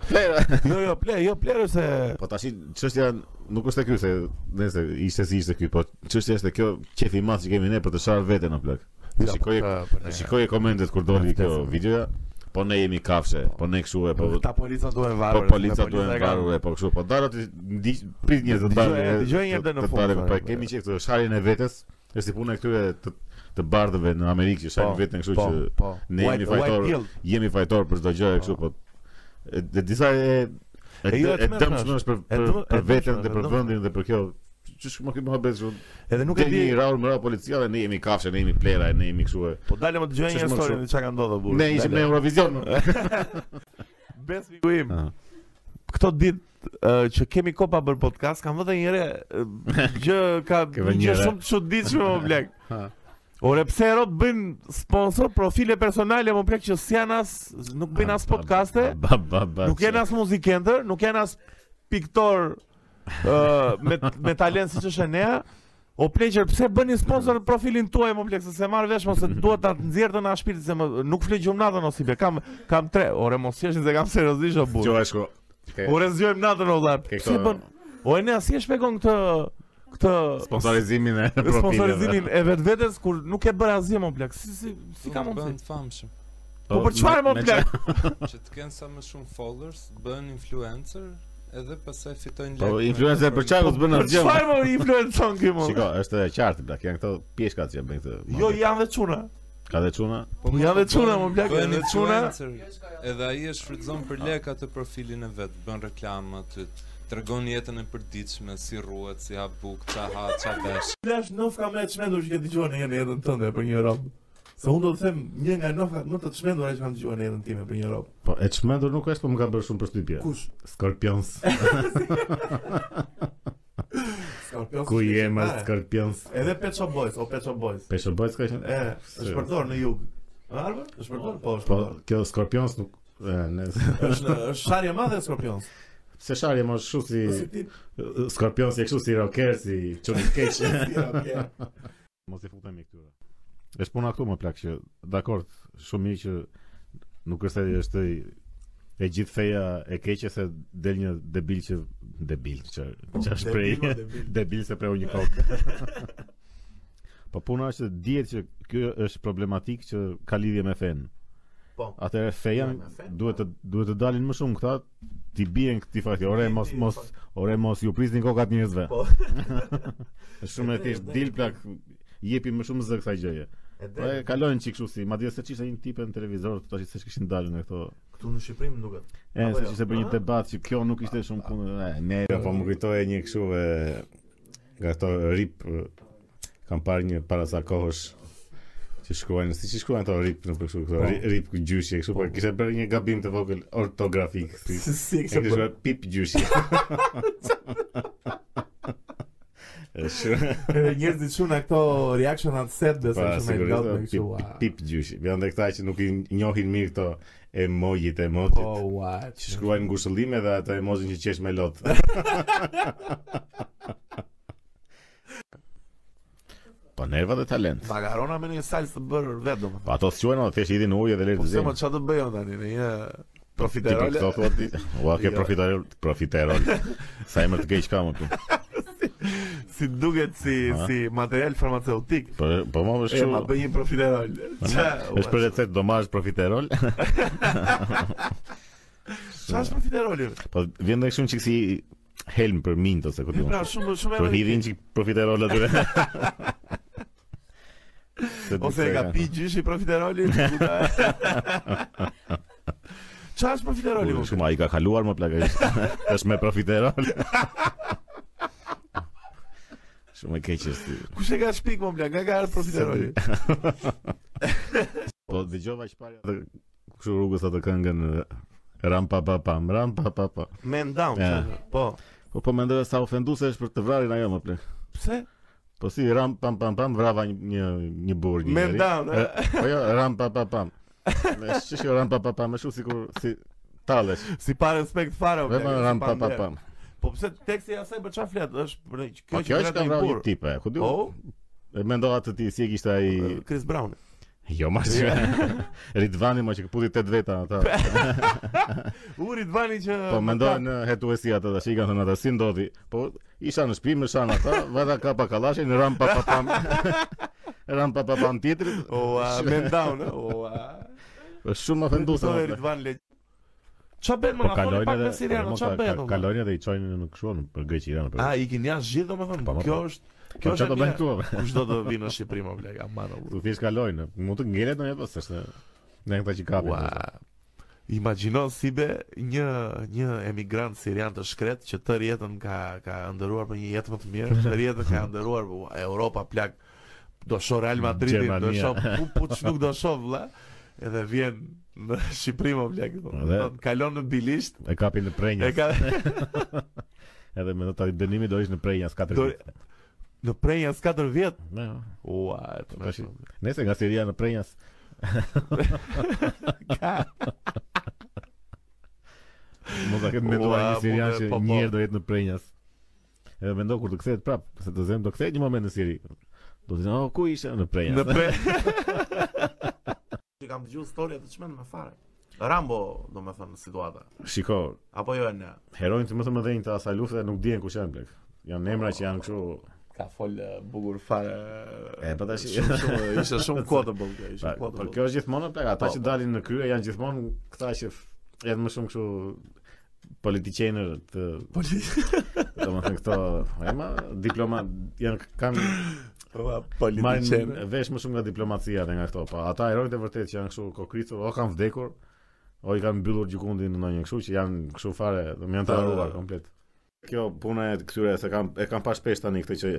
Speaker 2: Plera.
Speaker 1: Jo, jo, ple, jo plerë se
Speaker 2: Po tashi çështja nuk është e ky se nëse ishte si ishte ky, po çështja është kjo qefi i madh që kemi ne për të sharë veten në plak.
Speaker 1: Ja,
Speaker 2: shikoj-
Speaker 1: po, po, ne-
Speaker 2: Shikoje komentet kur doli kjo videoja. Po ne jemi kafshë, po ne kështu e po
Speaker 1: Ta polica duhen
Speaker 2: po
Speaker 1: varur.
Speaker 2: polica duhen varur e po kështu, po daro ti ndi- prit njerëz të
Speaker 1: Dëgjoj-
Speaker 2: dalë.
Speaker 1: dëgjoj njerë dhe në
Speaker 2: të
Speaker 1: fund,
Speaker 2: dalë,
Speaker 1: thaj,
Speaker 2: Po
Speaker 1: po.
Speaker 2: kemi që këtë sharjen e vetes, është si puna e këtyre të të bardhëve në Amerikë që
Speaker 1: Po,
Speaker 2: shajnë veten kështu
Speaker 1: po,
Speaker 2: që
Speaker 1: po.
Speaker 2: ne jemi
Speaker 1: White- white
Speaker 2: fajtor.
Speaker 1: pill.
Speaker 2: jemi fajtor për çdo gjë e kështu, po e- dhe disa e e,
Speaker 1: E jo, e
Speaker 2: e
Speaker 1: dëmshme
Speaker 2: dëmshme është për
Speaker 1: E
Speaker 2: për,
Speaker 1: dëmë- e
Speaker 2: për veten
Speaker 1: dëmshme,
Speaker 2: dhe
Speaker 1: e
Speaker 2: për
Speaker 1: dëmshme.
Speaker 2: vendin dhe për kjo. Çish më kemi habet kështu.
Speaker 1: Edhe nuk
Speaker 2: Nuk
Speaker 1: e
Speaker 2: e
Speaker 1: di.
Speaker 2: një raur më ra policia dhe ne jemi kafshë, ne jemi plera, ne jemi kështu. e-
Speaker 1: Po dalem të dëgjoj
Speaker 2: Qështë
Speaker 1: një
Speaker 2: më
Speaker 1: histori
Speaker 2: shumë.
Speaker 1: çka ka ndodhur burr.
Speaker 2: Ne ishim në [laughs] Eurovision.
Speaker 1: bes miku im. Këto ditë ë, që kemi kopa për podcast, kam vënë një re
Speaker 2: [laughs]
Speaker 1: ë, gjë ka
Speaker 2: Ke
Speaker 1: një
Speaker 2: vënë
Speaker 1: gjë
Speaker 2: një re.
Speaker 1: shumë të çuditshme më blek.
Speaker 2: [laughs] Ha.
Speaker 1: Ore pse erot bëjnë sponsor profile personale më plek që s'jan as nuk bëjnë as podcaste,
Speaker 2: Ba ba ba.
Speaker 1: nuk janë as muzikenter, nuk janë as piktor ë me me talent siç është Enea. O pleqer, pse bëni sponsor profilin tuaj më plek se se marr vesh mos se duhet ta nxjerrë në shpirtin se më, nuk flet gjumnatën o si be. Kam kam tre. Ore mos jeshin se kam seriozisht o burr.
Speaker 2: Jo ashtu.
Speaker 1: Ore zgjojmë natën o vllaj.
Speaker 2: Ke
Speaker 1: Pse
Speaker 2: këto-
Speaker 1: bën? O Enea si e shpjegon këtë këtë
Speaker 2: Sponsorizimin
Speaker 1: [laughs]
Speaker 2: e profileve.
Speaker 1: sponsorizimin e vetvetes kur nuk e bën asgjë më plek. Si si si ka mundsi?
Speaker 4: Bëhen famshëm.
Speaker 1: Po për çfarë më
Speaker 2: me
Speaker 1: plek?
Speaker 4: Që të kenë sa më shumë followers, bëhen influencer, edhe pastaj fitojnë
Speaker 2: Po
Speaker 4: lekë.
Speaker 2: influencer për çfarë s'bën
Speaker 1: Për
Speaker 2: asgjë.
Speaker 1: çfarë më influencon këtu më?
Speaker 2: Shiko, është e qartë blak, janë këto pjeshkat që bën këtë.
Speaker 1: Jo janë vetë çuna.
Speaker 2: Ka dhe çuna?
Speaker 4: Po
Speaker 1: Janë
Speaker 4: po,
Speaker 1: dhe çuna,
Speaker 4: bëhen-
Speaker 1: mo, plak,
Speaker 4: bëhen
Speaker 1: janë dhe çuna.
Speaker 4: influencer. Edhe ai e shfrytëzon për lekë atë profilin e vet, bën reklamë aty, tregon jetën e përditshme, si rruhet, si hap bukë, ça ha, ça vesh.
Speaker 3: Flash nofka më e çmendur që ke dëgjuar në një jetën tënde për një rob. Se unë do të them një nga nofkat më të çmendura që kam dëgjuar në jetën time për një rob.
Speaker 2: Po e çmendur nuk është, po më ka bërë shumë përshtypje.
Speaker 3: Kush? [laughs]
Speaker 2: Scorpions.
Speaker 3: Scorpions.
Speaker 2: Ku je ma
Speaker 3: shqiptare.
Speaker 2: Scorpions?
Speaker 3: Edhe Pet Shop Boys, o Pet Shop Boys.
Speaker 2: Pesho Boys ka qenë?
Speaker 3: E, është përdor në jug. Arba? Është përdor? Po, është
Speaker 2: Po
Speaker 3: përdor.
Speaker 2: kjo Scorpions nuk e, ne
Speaker 3: Është
Speaker 2: [laughs]
Speaker 3: është sharja e madhe e [laughs] Scorpions.
Speaker 2: se sharje më kështu si
Speaker 3: Po si ti?
Speaker 2: Scorpions je kështu si rocker si Johnny Cage.
Speaker 3: [laughs] Okay.
Speaker 2: Mos i futemi këtyre. Është puna këtu më plak që dakor, shumë mirë që nuk është se është i- e gjithë feja e keqe se del një debil që debil që që është prej
Speaker 3: Debil, po, o, debil.
Speaker 2: debil se preu një kokë. [laughs] po puna është që dihet që ky është problematik që ka lidhje me fen.
Speaker 3: Po.
Speaker 2: Atëherë feja
Speaker 3: Lidhje me fen, po.
Speaker 2: duhet të duhet të dalin më shumë këta ti bien këti fakti. Ore
Speaker 3: Ti-
Speaker 2: mos
Speaker 3: ti-
Speaker 2: mos ore mos ju prisni kokat njerëzve.
Speaker 3: Po.
Speaker 2: Është [laughs] shumë e thjesht dil plak jepi më shumë zë kësaj gjëje.
Speaker 3: E
Speaker 2: Po e
Speaker 3: drejtë,
Speaker 2: kalojnë çik kështu si, madje se çishte një tipe në televizor, tash se kishin dalë nga këto.
Speaker 3: këtu në Shqipëri më duket.
Speaker 2: E,
Speaker 3: Apo
Speaker 2: se
Speaker 3: jo?
Speaker 2: kishte bërë një
Speaker 3: Aha.
Speaker 2: debat që kjo nuk ishte shumë punë. E, ne po më kujtoje një kështu e nga këto rip e, kam parë një para sa kohësh që shkruajnë, si që shkruajnë ato rip në për kështu, këto ri- rip gjyshi, kështu, po kishte bërë një gabim të vogël ortografik.
Speaker 3: [laughs]
Speaker 2: Si, po.
Speaker 3: Si si e
Speaker 2: E
Speaker 3: kishe
Speaker 2: kështë
Speaker 3: bërë?
Speaker 2: shkruar pip [laughs] gjyshi. E shumë-
Speaker 3: Edhe njerëzit çuna këto reaction at set besoj
Speaker 2: Pa,
Speaker 3: që më dot me
Speaker 2: sigurisht,
Speaker 3: kështu. ah.
Speaker 2: pip,
Speaker 3: ua.
Speaker 2: pip, pip gjyshi. Vjen dhe këta që nuk i njohin mirë këto emojit,
Speaker 3: Po,
Speaker 2: emotit.
Speaker 3: ua.
Speaker 2: Që shkruajnë ngushëllime dhe ato emojin që qesh me lot. [laughs] po nerva dhe talent.
Speaker 1: Makarona me një salsë të bërë vetë domethënë.
Speaker 2: Po ato s'quajnë, o, thjesht i hidhin në ujë dhe lërë
Speaker 1: Po
Speaker 2: të
Speaker 1: se më
Speaker 2: zinë.
Speaker 1: çfarë të bëjon tani, ne je
Speaker 2: Ti për
Speaker 1: profiterole.
Speaker 2: këto thua ti? Ua,
Speaker 1: [laughs]
Speaker 2: ke
Speaker 1: Jo.
Speaker 2: profiterol,
Speaker 1: [laughs]
Speaker 2: profiterol. Sa emër të keq ka më këtu.
Speaker 1: Si duket si
Speaker 2: Ha?
Speaker 1: si material farmaceutik.
Speaker 2: Po po
Speaker 3: E
Speaker 2: më
Speaker 3: ma
Speaker 2: vështirë.
Speaker 3: bëj një profiterol.
Speaker 2: Është për recetë domazh profiterol. [laughs]
Speaker 1: Çfarë është profiteroli?
Speaker 2: Po vjen dhe kështu një çik si helm për mint ose ku
Speaker 1: Ne
Speaker 2: diun.
Speaker 1: pra shumë shumë
Speaker 2: Po hidhin çik profiterol
Speaker 1: [laughs]
Speaker 2: atyre. Se di
Speaker 1: ose
Speaker 2: se [laughs]
Speaker 1: e ka pi gjyshi profiteroli. puta. Qa është profiteroli
Speaker 2: Uri,
Speaker 1: më?
Speaker 2: Shumë ai ka kaluar më plaka. [laughs] Është me profiterol. Shumë e keq është. ky.
Speaker 1: Kush e ka shpik më plak? Nga ka ardhë profiteroli?
Speaker 2: Po dëgjova që parë atë kështu rrugës atë këngën e, Ram pa pa pam, ram pa pa pa.
Speaker 1: Man down.
Speaker 2: Ja.
Speaker 1: qa- Po.
Speaker 2: Po po mendoj sa ofenduese është për të vrarin ajo më plak.
Speaker 1: Pse?
Speaker 2: Po si ram pam pam pam vrava një një, një burr një.
Speaker 1: Man
Speaker 2: njeri.
Speaker 1: down.
Speaker 2: E, Po jo ram pa pa pam. [laughs] Më shishë ram pa pa pam, më shumë sikur si tallesh.
Speaker 1: Si pa respekt fare. më
Speaker 2: Dhe
Speaker 1: plak,
Speaker 2: më
Speaker 1: si
Speaker 2: ram pa pa
Speaker 1: nder.
Speaker 2: pam.
Speaker 1: Po pse teksti i asaj për çfarë flet? Është për
Speaker 2: Po
Speaker 1: kjo
Speaker 2: kjo
Speaker 1: që
Speaker 2: është ka
Speaker 1: ka
Speaker 2: vrarë
Speaker 1: bur.
Speaker 2: një tipe, ku di.
Speaker 1: Po,
Speaker 2: E mendova të ti si e kishte ai
Speaker 1: Chris Brown.
Speaker 2: Jo, ma që [laughs] Ridvani ma që këputi të dveta
Speaker 1: [laughs]
Speaker 2: ata
Speaker 1: U Ridvani që
Speaker 2: Po mendoj në hetuesi ata dhe që i kanë thënë ata si ndodhi Po isha në shpi më shanë
Speaker 1: [laughs]
Speaker 2: ata Vada ka pa kalashin, ram pa pa pam Ram pa pa pam tjetrit
Speaker 1: O,
Speaker 2: [laughs]
Speaker 1: a, man down. eh, O, a.
Speaker 2: Po shumë më fëndusa
Speaker 1: Kuptoj Ridvan le. Qa bën më
Speaker 2: Po
Speaker 1: nga thoni
Speaker 2: kalojnë
Speaker 1: pak me
Speaker 2: edhe
Speaker 1: Siriano,
Speaker 2: Ramon,
Speaker 1: qa
Speaker 2: ka-
Speaker 1: bën?
Speaker 2: ka-
Speaker 1: o, ma?
Speaker 2: Kalojnë edhe i qojnë në këshuon për Greqi Iran
Speaker 1: A, ikin jashtë gjithë domethënë.
Speaker 2: Po, ma,
Speaker 1: Kjo
Speaker 2: po.
Speaker 1: është
Speaker 2: Po që do
Speaker 1: e
Speaker 2: bëjnë
Speaker 1: mira.
Speaker 2: këtu apo?
Speaker 1: Kushdo të vinë në Shqipëri më bleg, aman o.
Speaker 2: Tu thjesht kalojnë Mund të ngelet në një pas është Ne këta që kapin
Speaker 1: Ua. Imagjino si be një një emigrant sirian të shkret që tërë jetën ka ka ndëruar për një jetë më të mirë, tërë jetën ka ndëruar ua, Europa plak do shoh Real Madridin, do
Speaker 2: Gjermania.
Speaker 1: shoh pu- puç nuk do shoh vlla. Edhe vjen në [laughs] Shqipëri më bleg.
Speaker 2: Edhe-
Speaker 1: Kalon në Bilisht,
Speaker 2: E kapin në
Speaker 1: e
Speaker 2: prenjë
Speaker 1: ka [laughs]
Speaker 2: Edhe me do të dënimi do ishë në prenjë As 4
Speaker 1: Do- në prenjas 4 vjet.
Speaker 2: Ne,
Speaker 1: Ua, e të
Speaker 2: Tash- Nese nga Siria në prenjas
Speaker 1: [laughs]
Speaker 2: [laughs]
Speaker 1: Ka.
Speaker 2: Mund ta ketë menduar
Speaker 1: Ua,
Speaker 2: një sirian
Speaker 1: po,
Speaker 2: që
Speaker 1: po, po.
Speaker 2: një herë do jetë në prenjas. Edhe mendo kur të kthehet prap, se të zem do kthehet një moment në Siri. Do të thënë, "Oh, ku ishe në prenjas?"
Speaker 1: Në pre. Që kam dëgjuar story të çmend me fare. Rambo, domethënë situata.
Speaker 2: [laughs] Shiko,
Speaker 1: Apo jo ne.
Speaker 2: heronjtë më të mëdhenj të asaj lufte nuk dihen kush janë blek. Janë emra që janë kështu
Speaker 1: Ka fol eh, bukur fare.
Speaker 2: E, po tash-
Speaker 1: Shumë- shumë- ishte
Speaker 2: [laughs]
Speaker 1: shumë quotable, kjo,
Speaker 2: Pa,
Speaker 1: ishte
Speaker 2: Por
Speaker 1: quotable.
Speaker 2: pra, kjo është gjithmonë plak, ata
Speaker 1: Po,
Speaker 2: që
Speaker 1: po.
Speaker 2: dalin në krye janë gjithmonë këta që f- janë më shumë kështu politiqenë të
Speaker 1: Poli-
Speaker 2: domethënë këto ema diploma janë kanë po,
Speaker 1: Ua,
Speaker 2: marrin
Speaker 1: Politiqenë.
Speaker 2: vesh më shumë nga diplomacia dhe nga këto, po ata heronjtë e vërtet që janë kështu kokritur, o kanë vdekur, o i kanë mbyllur gjykundin në ndonjë kështu që janë kështu fare, do më janë të harruar komplet. Kjo puna e këtyre se kanë e kanë pa shpesh tani këtë që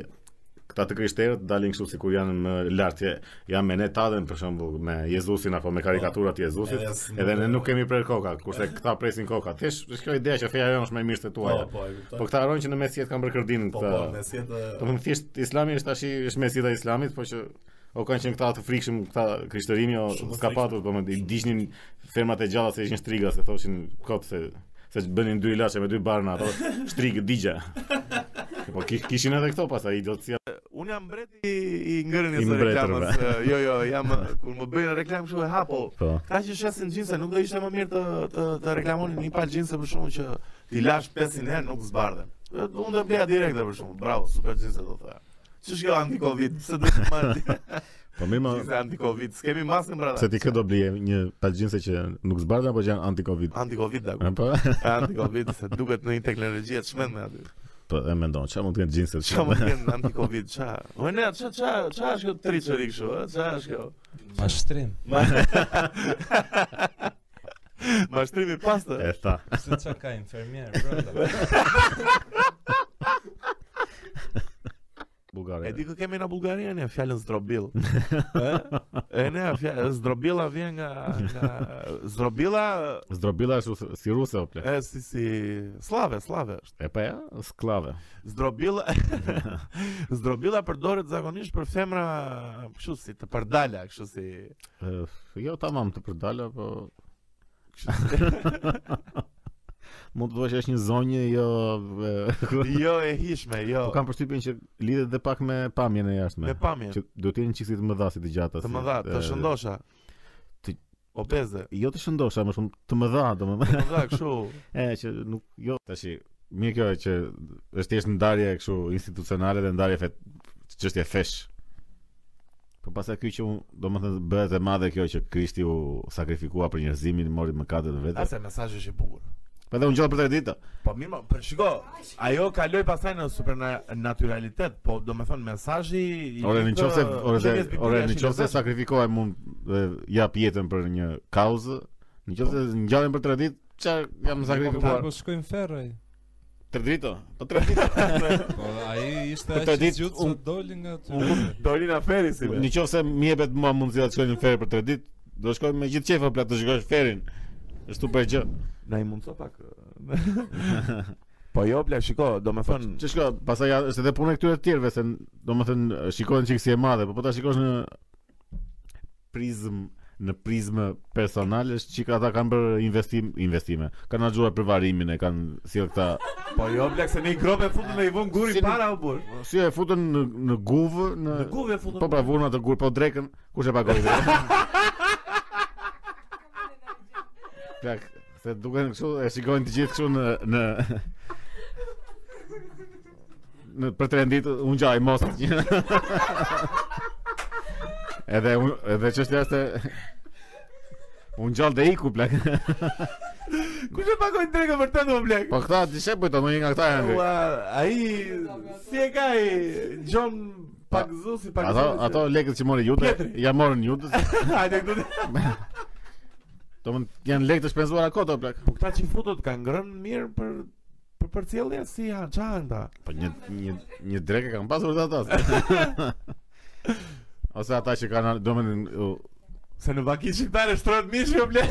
Speaker 2: këta të krishterët dalin kështu sikur janë më lart, që janë me netadën për shembull me Jezusin apo me
Speaker 3: Po,
Speaker 2: karikaturat e Jezusit,
Speaker 3: Edhe s-
Speaker 2: edhe ne nuk kemi prer koka, kurse këta presin koka. Thjesht është kjo ideja që feja jonë është më e mirë se
Speaker 3: Po,
Speaker 2: tuaja.
Speaker 3: po, e kuptoj.
Speaker 2: Po këta harrojnë që në mes jetë kanë bërë kërdinin
Speaker 3: Po,
Speaker 2: këta.
Speaker 3: po, ne si e të-
Speaker 2: Do të thjesht Islami është tash është mesjida e Islamit, po që o kanë qenë këta të frikshëm këta krishterimi o
Speaker 3: Shumë të
Speaker 2: s'ka
Speaker 3: frikshëm.
Speaker 2: patur, domethënë i diçnin fermat e gjalla se ishin striga, se thoshin kot se se që bënin dy ilaçe me dy barna ato shtrigë digja. Po ki- kishin edhe këto pastaj idiotësia.
Speaker 1: Unë jam mbreti i ngërënjes
Speaker 2: I
Speaker 1: së
Speaker 2: mbretërve.
Speaker 1: reklamës. eh, Jo, jo, jam eh, kur më bëjnë reklam kështu e hapo.
Speaker 2: Po.
Speaker 1: Ka që shesin gjinse, nuk do ishte më mirë të, të, të reklamonin një palë gjinse për shumë që t'i lash 500 herë nuk zbardhen. E, Unë do bleja direkte për shumë, bravo, super gjinse do thëja. Që shkjo anti-covid, pse do të
Speaker 2: [laughs]
Speaker 1: marrë
Speaker 2: Po mirë ma
Speaker 1: gjinse anti-covid, s'kemi maskën brada.
Speaker 2: se ti kë do blije një palxhinse që nuk zbardhen apo që janë anti-covid. po,
Speaker 1: Anti-covid da,
Speaker 2: Apo
Speaker 1: anti-covid, se duket në një teknologji e të shmen me aty.
Speaker 2: [laughs] po e mendon, çfarë mund të kenë xhinset?
Speaker 1: Qa më t'kenë anti-covid, qa? Ojne, qa, qa, qa është kjo të triqëri kështu, e? qa është kjo?
Speaker 4: Mashtrim.
Speaker 1: Ma... [laughs] Mashtrimi pastër.
Speaker 2: [laughs] E tha.
Speaker 4: Se çka ka infermier [laughs] brenda.
Speaker 2: Bullgarë.
Speaker 1: E di kë kemi në Bullgari ne fjalën zdrobill. Ë? E ne fjalë zdrobilla vjen nga nga zdrobilla
Speaker 2: Zdrobilla është si ruse o ple.
Speaker 1: e si si slave, slave është.
Speaker 2: E pa ja, sklave.
Speaker 1: Zdrobilla zdrobilla përdoret zakonisht për femra kështu si të pardala, kështu si
Speaker 2: E, Jo, tamam të përdala, po mund të thuash që është një zonjë jo e,
Speaker 1: [laughs] jo e hishme, jo.
Speaker 2: po kam përshtypjen që lidhet edhe pak me pamjen e jashtme.
Speaker 1: Me pamje,
Speaker 2: Që do të jenë çiksi të mëdha si të gjata.
Speaker 1: të
Speaker 2: si,
Speaker 1: më dha, të
Speaker 2: e,
Speaker 1: shëndosha.
Speaker 2: ti-
Speaker 1: Obeze,
Speaker 2: Jo të shëndosha, më shumë të mëdha, domethënë. [laughs]
Speaker 1: të më dha kështu.
Speaker 2: E që nuk jo tash mirë kjo që është thjesht ndarje kështu institucionale dhe ndarje fet çështje fesh. Po pastaj ky që unë, domethënë bëhet e madhe kjo që Krishti u sakrifikua për njerëzimin, mori mëkatet e veta.
Speaker 1: Asa mesazhi është i bukur.
Speaker 2: Po dhe unë gjallë për tre ditë.
Speaker 1: Po mirë, ma, për shiko, ajo kaloi pasaj në supernaturalitet, po do me thonë mesajji...
Speaker 2: Ore në qoftë se- ore dhe- ore në qoftë se sakrifikohem unë dhe jap jetën për një kauzë, Në qoftë se ngjallem për 3 ditë, çfarë jam sakrifikuar?
Speaker 4: Po shkojmë ferraj.
Speaker 2: 3 ditë? o? Po 3 ditë. [laughs]
Speaker 4: Po ai ishte
Speaker 2: Për të
Speaker 4: aq i
Speaker 2: ditë,
Speaker 4: gjutë
Speaker 2: unë-
Speaker 4: sa doli nga aty.
Speaker 1: Dorina Feri si be.
Speaker 2: Në qoftë se më jepet mua mundësia të shkoj në ferry për 3 ditë, do shkoj me gjithë qefa për të shkosh ferrin. Është super gjë.
Speaker 1: Na i mundso pak.
Speaker 2: [laughs]
Speaker 1: po jo, bla, shiko, do me thënë,
Speaker 2: Ç'shko, pastaj ja- është edhe puna e këtyre të tjerëve se domethënë shikojnë çik si e madhe, po po ta shikosh në prizm në prizmë personale është çik ata kanë bërë investim investime. Kanë axhuar për varimin e kanë sjell këta
Speaker 1: po jo, bla, se ne i grobe futu me i vun guri
Speaker 2: Si-
Speaker 1: para o bur.
Speaker 2: si e futën në në guvë në
Speaker 3: Në guvë e futën.
Speaker 2: Po pra vurna të gur, po drekën, kush e pagon?
Speaker 3: [laughs]
Speaker 2: Plak, se duken kështu, e shikojnë të gjithë kështu në në në për tre ditë unë gjaj
Speaker 3: [laughs]
Speaker 2: mos. edhe unë edhe çështja është se unë gjallë dhe iku
Speaker 3: [laughs]
Speaker 2: plak.
Speaker 1: Kush e pakoi drekën vërtet o bla?
Speaker 2: Po këta dishe bëjtë, në një nga këta janë.
Speaker 1: Ua, ai si e ka ai John pak zusi pak
Speaker 2: Ato
Speaker 1: zusi.
Speaker 2: ato lekët që mori Jude,
Speaker 1: Pjetri.
Speaker 2: ja morën Jude.
Speaker 1: [laughs] hajde këtu.
Speaker 2: Domthon janë lekë të shpenzuara ato plak.
Speaker 1: Po këta që futut kanë ngrënë mirë për për për cilëja si han çan ta.
Speaker 2: Po një një një drekë kanë pasur dhe ata. [laughs] Ose ata që kanë domethënë u-
Speaker 1: Se në vaki shqiptare shtrohet mishi o ble.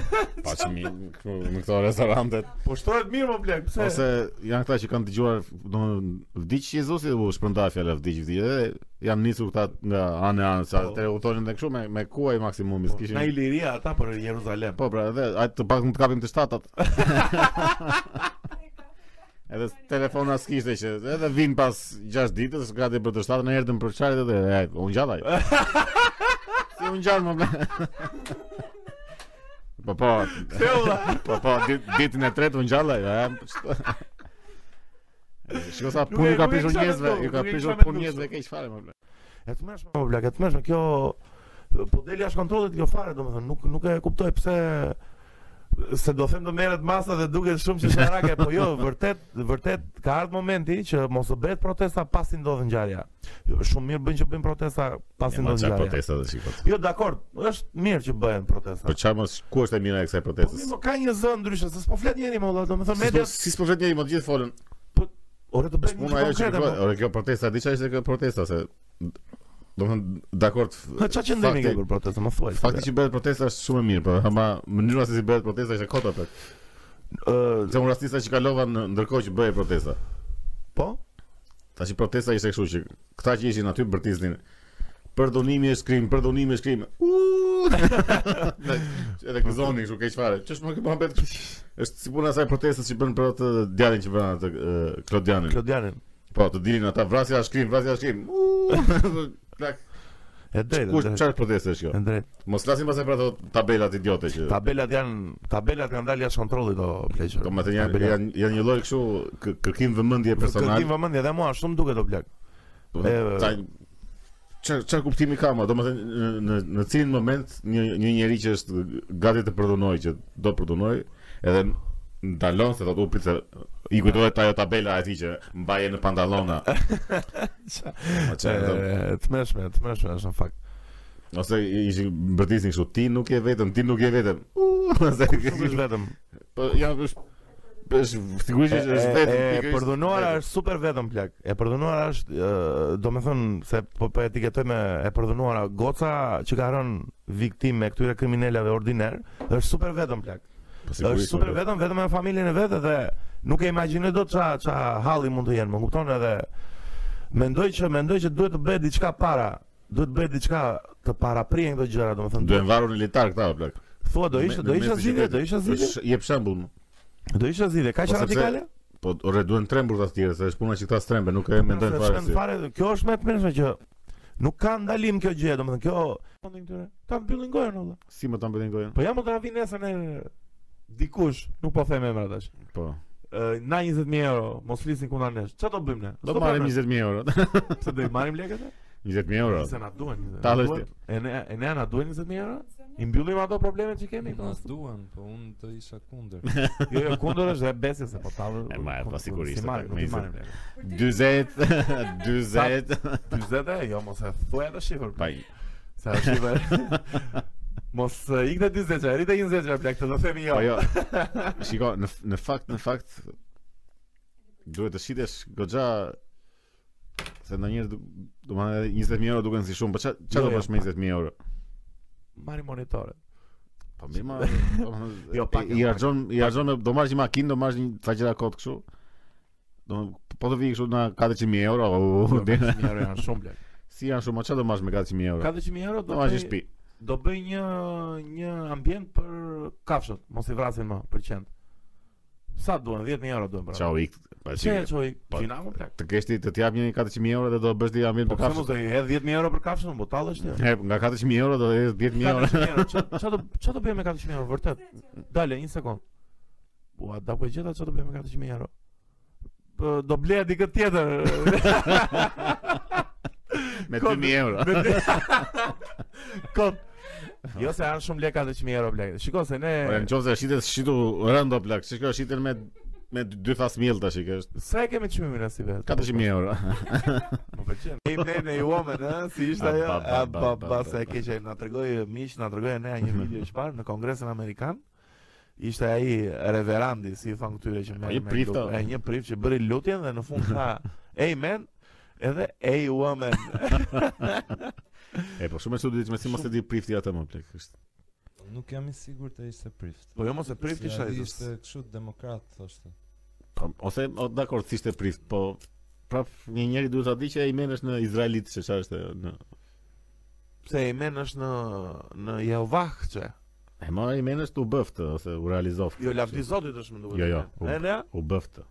Speaker 2: pa që mi këtu në këto restorante
Speaker 1: Po shtrohet mirë o ble, pse?
Speaker 2: [laughs] ose janë këta që kanë dëgjuar domethënë vdiq Jezusi u shpërndar fjala vdiq vdiq edhe janë nisur këta nga anë e anë sa
Speaker 1: Po.
Speaker 2: të u thonin edhe kështu me me kuaj maksimumis
Speaker 1: Po,
Speaker 2: kishin
Speaker 1: Na Iliria ata për Jeruzalem.
Speaker 2: Po pra, edhe ajtë të pak të kapim të shtatat.
Speaker 1: [laughs]
Speaker 2: edhe telefona s'kishte që edhe vin pas 6 ditës, gati për të shtatën, erdhën për çaret edhe e,
Speaker 1: [laughs]
Speaker 2: unë gjallaj. si unë gjallë më ble. [laughs] Po po,
Speaker 1: Theolla.
Speaker 2: [laughs] po po, dit, ditën e tretë unë gjallaj. E, po, ç'të- Shiko sa
Speaker 1: Nuk
Speaker 2: punë
Speaker 1: e-
Speaker 2: ju ka
Speaker 1: nuk e
Speaker 2: pishur
Speaker 1: kisha
Speaker 2: njerëzve,
Speaker 1: menduar,
Speaker 2: ju
Speaker 1: nuk
Speaker 2: ka
Speaker 1: e kisha
Speaker 2: pishur
Speaker 1: menduar
Speaker 2: punë njerëzve
Speaker 1: kështu.
Speaker 2: keq fare më ble.
Speaker 1: E të mërshme, po bla, e të mërshme, kjo po deli jashtë kontrollit kjo fare, domethënë, nuk nuk e kuptoj pse se do them të merret masa dhe duket shumë që sharake, po jo, vërtet vërtet ka ardhur momenti që mos u bëhet protesta pasi ndodh ngjarja. Jo, Shumë mirë bën që bëjnë protesta pasi
Speaker 2: Ma
Speaker 1: ndodh
Speaker 2: çfarë
Speaker 1: ngjarja.
Speaker 2: protesta dhe shikot.
Speaker 1: Jo, dakord, është mirë që bëhen
Speaker 2: Po
Speaker 1: protesta.
Speaker 2: çfarë mos ku është e mira e kësaj
Speaker 1: Po
Speaker 2: protestës?
Speaker 1: mirë, po, ka një zë ndryshe, se s'po flet njeri më valla, domethënë media,
Speaker 2: Si s'po vetë njëri, më të gjithë folën.
Speaker 1: ore të
Speaker 2: Është
Speaker 1: bëjmë
Speaker 2: puna
Speaker 1: një
Speaker 2: ajo që
Speaker 1: konkrete.
Speaker 2: kjo,
Speaker 1: po.
Speaker 2: ore kjo protesta diçka ishte kjo protesta se domethënë dakord. f-
Speaker 1: Ha, çfarë që ndemi
Speaker 2: fakti-
Speaker 1: ke për protesta, më thuaj.
Speaker 2: Fakti që bëhet protesta është shumë e mirë, por ama mënyra se si bëhet protesta është e kota për.
Speaker 1: Ë,
Speaker 2: Se unë rastisa që kalova në ndërkohë që bëhej protesta.
Speaker 1: po?
Speaker 2: Tash protesta ishte kështu që këta që ishin aty bërtisnin. Për donimi është krim, për donimi është krim. Uuuu! Edhe gëzonin kështu keq fare. Ç'është më kjo mohabet? Është si puna e asaj protestës që bën për atë djalin që bën atë eh, Klodianin.
Speaker 1: Klodianin.
Speaker 2: Po, të dilin ata vrasja është krim, vrasja është krim. Uuuu! Plak.
Speaker 1: E drejtë.
Speaker 2: Ku
Speaker 1: e drejtë.
Speaker 2: çfarë proteste është
Speaker 1: E
Speaker 2: kjo?
Speaker 1: drejtë.
Speaker 2: Mos flasim pasaj për ato tabelat idiote që
Speaker 1: Tabelat janë tabelat kanë dalë jashtë kontrollit o pleqë.
Speaker 2: do të thënë janë
Speaker 1: Tabelat-
Speaker 2: janë janë një lloj kështu kë- kërkim vëmendje personal.
Speaker 1: Kërkim vëmendje dhe mua shumë duket o plak.
Speaker 2: Do të
Speaker 1: e-
Speaker 2: thënë, ca- Çfarë çfarë kuptimi ka më? Domethënë në- në në cilin moment një një njerëz që është gati të përdunoj që do përdunoj, edhe ndalon se thotë u prit se i kujtohet ajo tabela e tij që mbaje në pantallona. Ma çfarë?
Speaker 1: E, Të mëshme, të mëshme është në fakt.
Speaker 2: Ose i- ishin bërtisni kështu ti nuk je vetëm, ti nuk je vetëm. U, ose
Speaker 1: Nuk është vetëm.
Speaker 2: Po ja është është sigurisht
Speaker 1: E,
Speaker 2: që është
Speaker 1: e,
Speaker 2: vetëm
Speaker 1: e
Speaker 2: pikërisht
Speaker 1: përdhunuara
Speaker 2: vetëm.
Speaker 1: është super vetëm plak. E përdhunuara është, ë, do me thënë, se po po etiketoj me e përdhunuara goca që ka rënë viktimë e këtyre kriminaleve ordiner, është super vetëm plak.
Speaker 2: Po,
Speaker 1: është
Speaker 2: sigurisht,
Speaker 1: super
Speaker 2: po,
Speaker 1: vetëm vetëm me familjen e vetë dhe nuk e imagjinoj dot ça ça halli mund të jenë, më kupton edhe mendoj që mendoj që duhet të bëhet diçka para, duhet të bëhet diçka të para prien këto gjëra, domethënë
Speaker 2: Duhen varur në litar këta o plak.
Speaker 1: thua do ishte
Speaker 2: Me-
Speaker 1: do
Speaker 2: me
Speaker 1: ishte
Speaker 2: mesin që
Speaker 1: zgjidhje,
Speaker 2: kemi.
Speaker 1: do ishte zgjidhje,
Speaker 2: Është- Jep shembull. mu.
Speaker 1: do ishte zgjidhje, kaq
Speaker 2: Po, sepse-
Speaker 1: radikale?
Speaker 2: Po orë duhen trembur ta tjerë, se është puna që këta strembe, nuk e mendojnë
Speaker 1: Se
Speaker 2: fare.
Speaker 1: shkon
Speaker 2: si.
Speaker 1: fare, kjo është më e tmerrshme që nuk ka ndalim kjo gjë, domethënë kjo mundin këtyre. Ta mbyllin gojën olla.
Speaker 2: Si më ta mbëllin gojën?
Speaker 1: Po ja mund ta vi nesër në dikush, nuk po them emra tash.
Speaker 2: Po.
Speaker 1: Ë, Na 20000 euro, mos flisin kundër nesh. Çfarë do bëjmë ne?
Speaker 2: Do
Speaker 1: S'do
Speaker 2: marrim
Speaker 1: bëjmë ne.
Speaker 2: 20000 euro.
Speaker 1: Pse do i marrim lekët? e?
Speaker 2: 20000 euro.
Speaker 1: Se na duhen. se na
Speaker 2: Tallësh
Speaker 1: duhen.
Speaker 2: ti.
Speaker 1: E ne e ne na duhen 20000 euro? I mbyllim ato problemet që kemi. po.
Speaker 4: Na duan, po unë do isha kundër. [laughs]
Speaker 1: Jo, jo, kundër është dhe besje se po tallë.
Speaker 2: E, ma, e, po, sigurisht,
Speaker 1: Si marrim,
Speaker 2: po,
Speaker 1: nuk i
Speaker 2: me
Speaker 1: marrim.
Speaker 2: 40 40
Speaker 1: 40 e jo mos e thuaj atë shifër.
Speaker 2: pa
Speaker 1: [laughs] Sa shifër. Mos e, ikte 20 çaj, rritë 20 çaj plak, të do themi jo.
Speaker 2: Po jo. Shiko, në f- në fakt, në fakt duhet të shitesh goxha se ndonjëherë du- domethënë 20000 euro duken si shumë, po ç'a ç'a
Speaker 1: Jo,
Speaker 2: do
Speaker 1: jo.
Speaker 2: bësh me 20000 euro?
Speaker 1: Marri monitore.
Speaker 2: Po mirë, ma,
Speaker 1: [laughs] Jo,
Speaker 2: jo,
Speaker 1: pak
Speaker 2: pak E, i
Speaker 1: janë,
Speaker 2: harxhon, i harxhon me do marrësh një makinë, do marrësh një ca gjëra kot kështu. Do po të vi kështu na 400000 euro, o,
Speaker 1: Jo,
Speaker 2: dhe-
Speaker 1: 400.000 euro janë shumë plak.
Speaker 2: si janë shumë, ç'a do marrësh me 400000 euro?
Speaker 1: 400000 euro
Speaker 2: Do
Speaker 1: do
Speaker 2: marrësh
Speaker 1: bëj-
Speaker 2: një shtëpi.
Speaker 1: do bëj një një ambient për kafshët, mos i vrasin më për qend. Sa duan? 10000 euro duan pra.
Speaker 2: Çau ik. Pa
Speaker 1: Çe
Speaker 2: çik.
Speaker 1: çoj,
Speaker 2: Po,
Speaker 1: gjinamu plak.
Speaker 2: Të kesh ti të të jap një 400000 euro dhe do bësh ti ambient
Speaker 1: Po
Speaker 2: për
Speaker 1: pse mos
Speaker 2: kafshë.
Speaker 1: do i hedh 10000 euro për kafshën, botall është. jo.
Speaker 2: E, nga 400000 euro do jesh 10000
Speaker 1: [laughs]
Speaker 2: euro.
Speaker 1: 400000 euro. ç- Çfarë do çfarë do bëjmë me 400000 euro vërtet? Dale, një sekond. Ua, da po e gjeta çfarë do bëjmë me 400000 euro? Po, Do bleja dikë tjetër. [laughs]
Speaker 2: Me
Speaker 1: Kod-
Speaker 2: 2000 euro.
Speaker 1: Me dy-
Speaker 2: [laughs]
Speaker 1: Kot. Jo se janë shumë lekë 400000 euro blek. Shikoj se
Speaker 2: Ora
Speaker 1: ne
Speaker 2: në qoftë se shitet shitu rëndo plak, që kjo shiten me me dy- dy fas miell tash që është
Speaker 1: sa e kemi çmimin as i vet.
Speaker 2: 400000
Speaker 1: [laughs]
Speaker 2: euro.
Speaker 1: Më pëlqen. Ai vlen e uomen, ë, si ishte
Speaker 2: A,
Speaker 1: ajo?
Speaker 2: ba, ba,
Speaker 1: A,
Speaker 2: ba,
Speaker 1: Ba
Speaker 2: ba,
Speaker 1: ba
Speaker 2: ba,
Speaker 1: sa e
Speaker 2: ba.
Speaker 1: keqe na tregoi miq, na tregoi ne një video që parë në Kongresin Amerikan. Ishte ai reverandi si i thon këtyre që
Speaker 2: Po, një
Speaker 1: me
Speaker 2: prift,
Speaker 1: grup-
Speaker 2: o.
Speaker 1: e, një prift që bëri lutjen dhe në fund tha amen edhe a woman.
Speaker 2: E po shumë e çuditshme si mos e di prifti atë më plak. Është
Speaker 4: Nuk jam i sigurt të ishte prift.
Speaker 1: Po jo mos e prift
Speaker 4: Se
Speaker 1: kisha
Speaker 4: ai
Speaker 1: ai.
Speaker 4: ishte kështu demokrat thoshte.
Speaker 2: po, ose o, dakor si ishte prift, po prap një njeri duhet ta di që ai merresh në izraelit se çfarë është ajo, në
Speaker 1: Pse amen është në në Jehovah çe.
Speaker 2: E ma i menesh të u bëftë, ose u realizoft
Speaker 1: Jo lavdi Zotit është më duket.
Speaker 2: Jo, jo.
Speaker 1: E ne
Speaker 2: U bëftë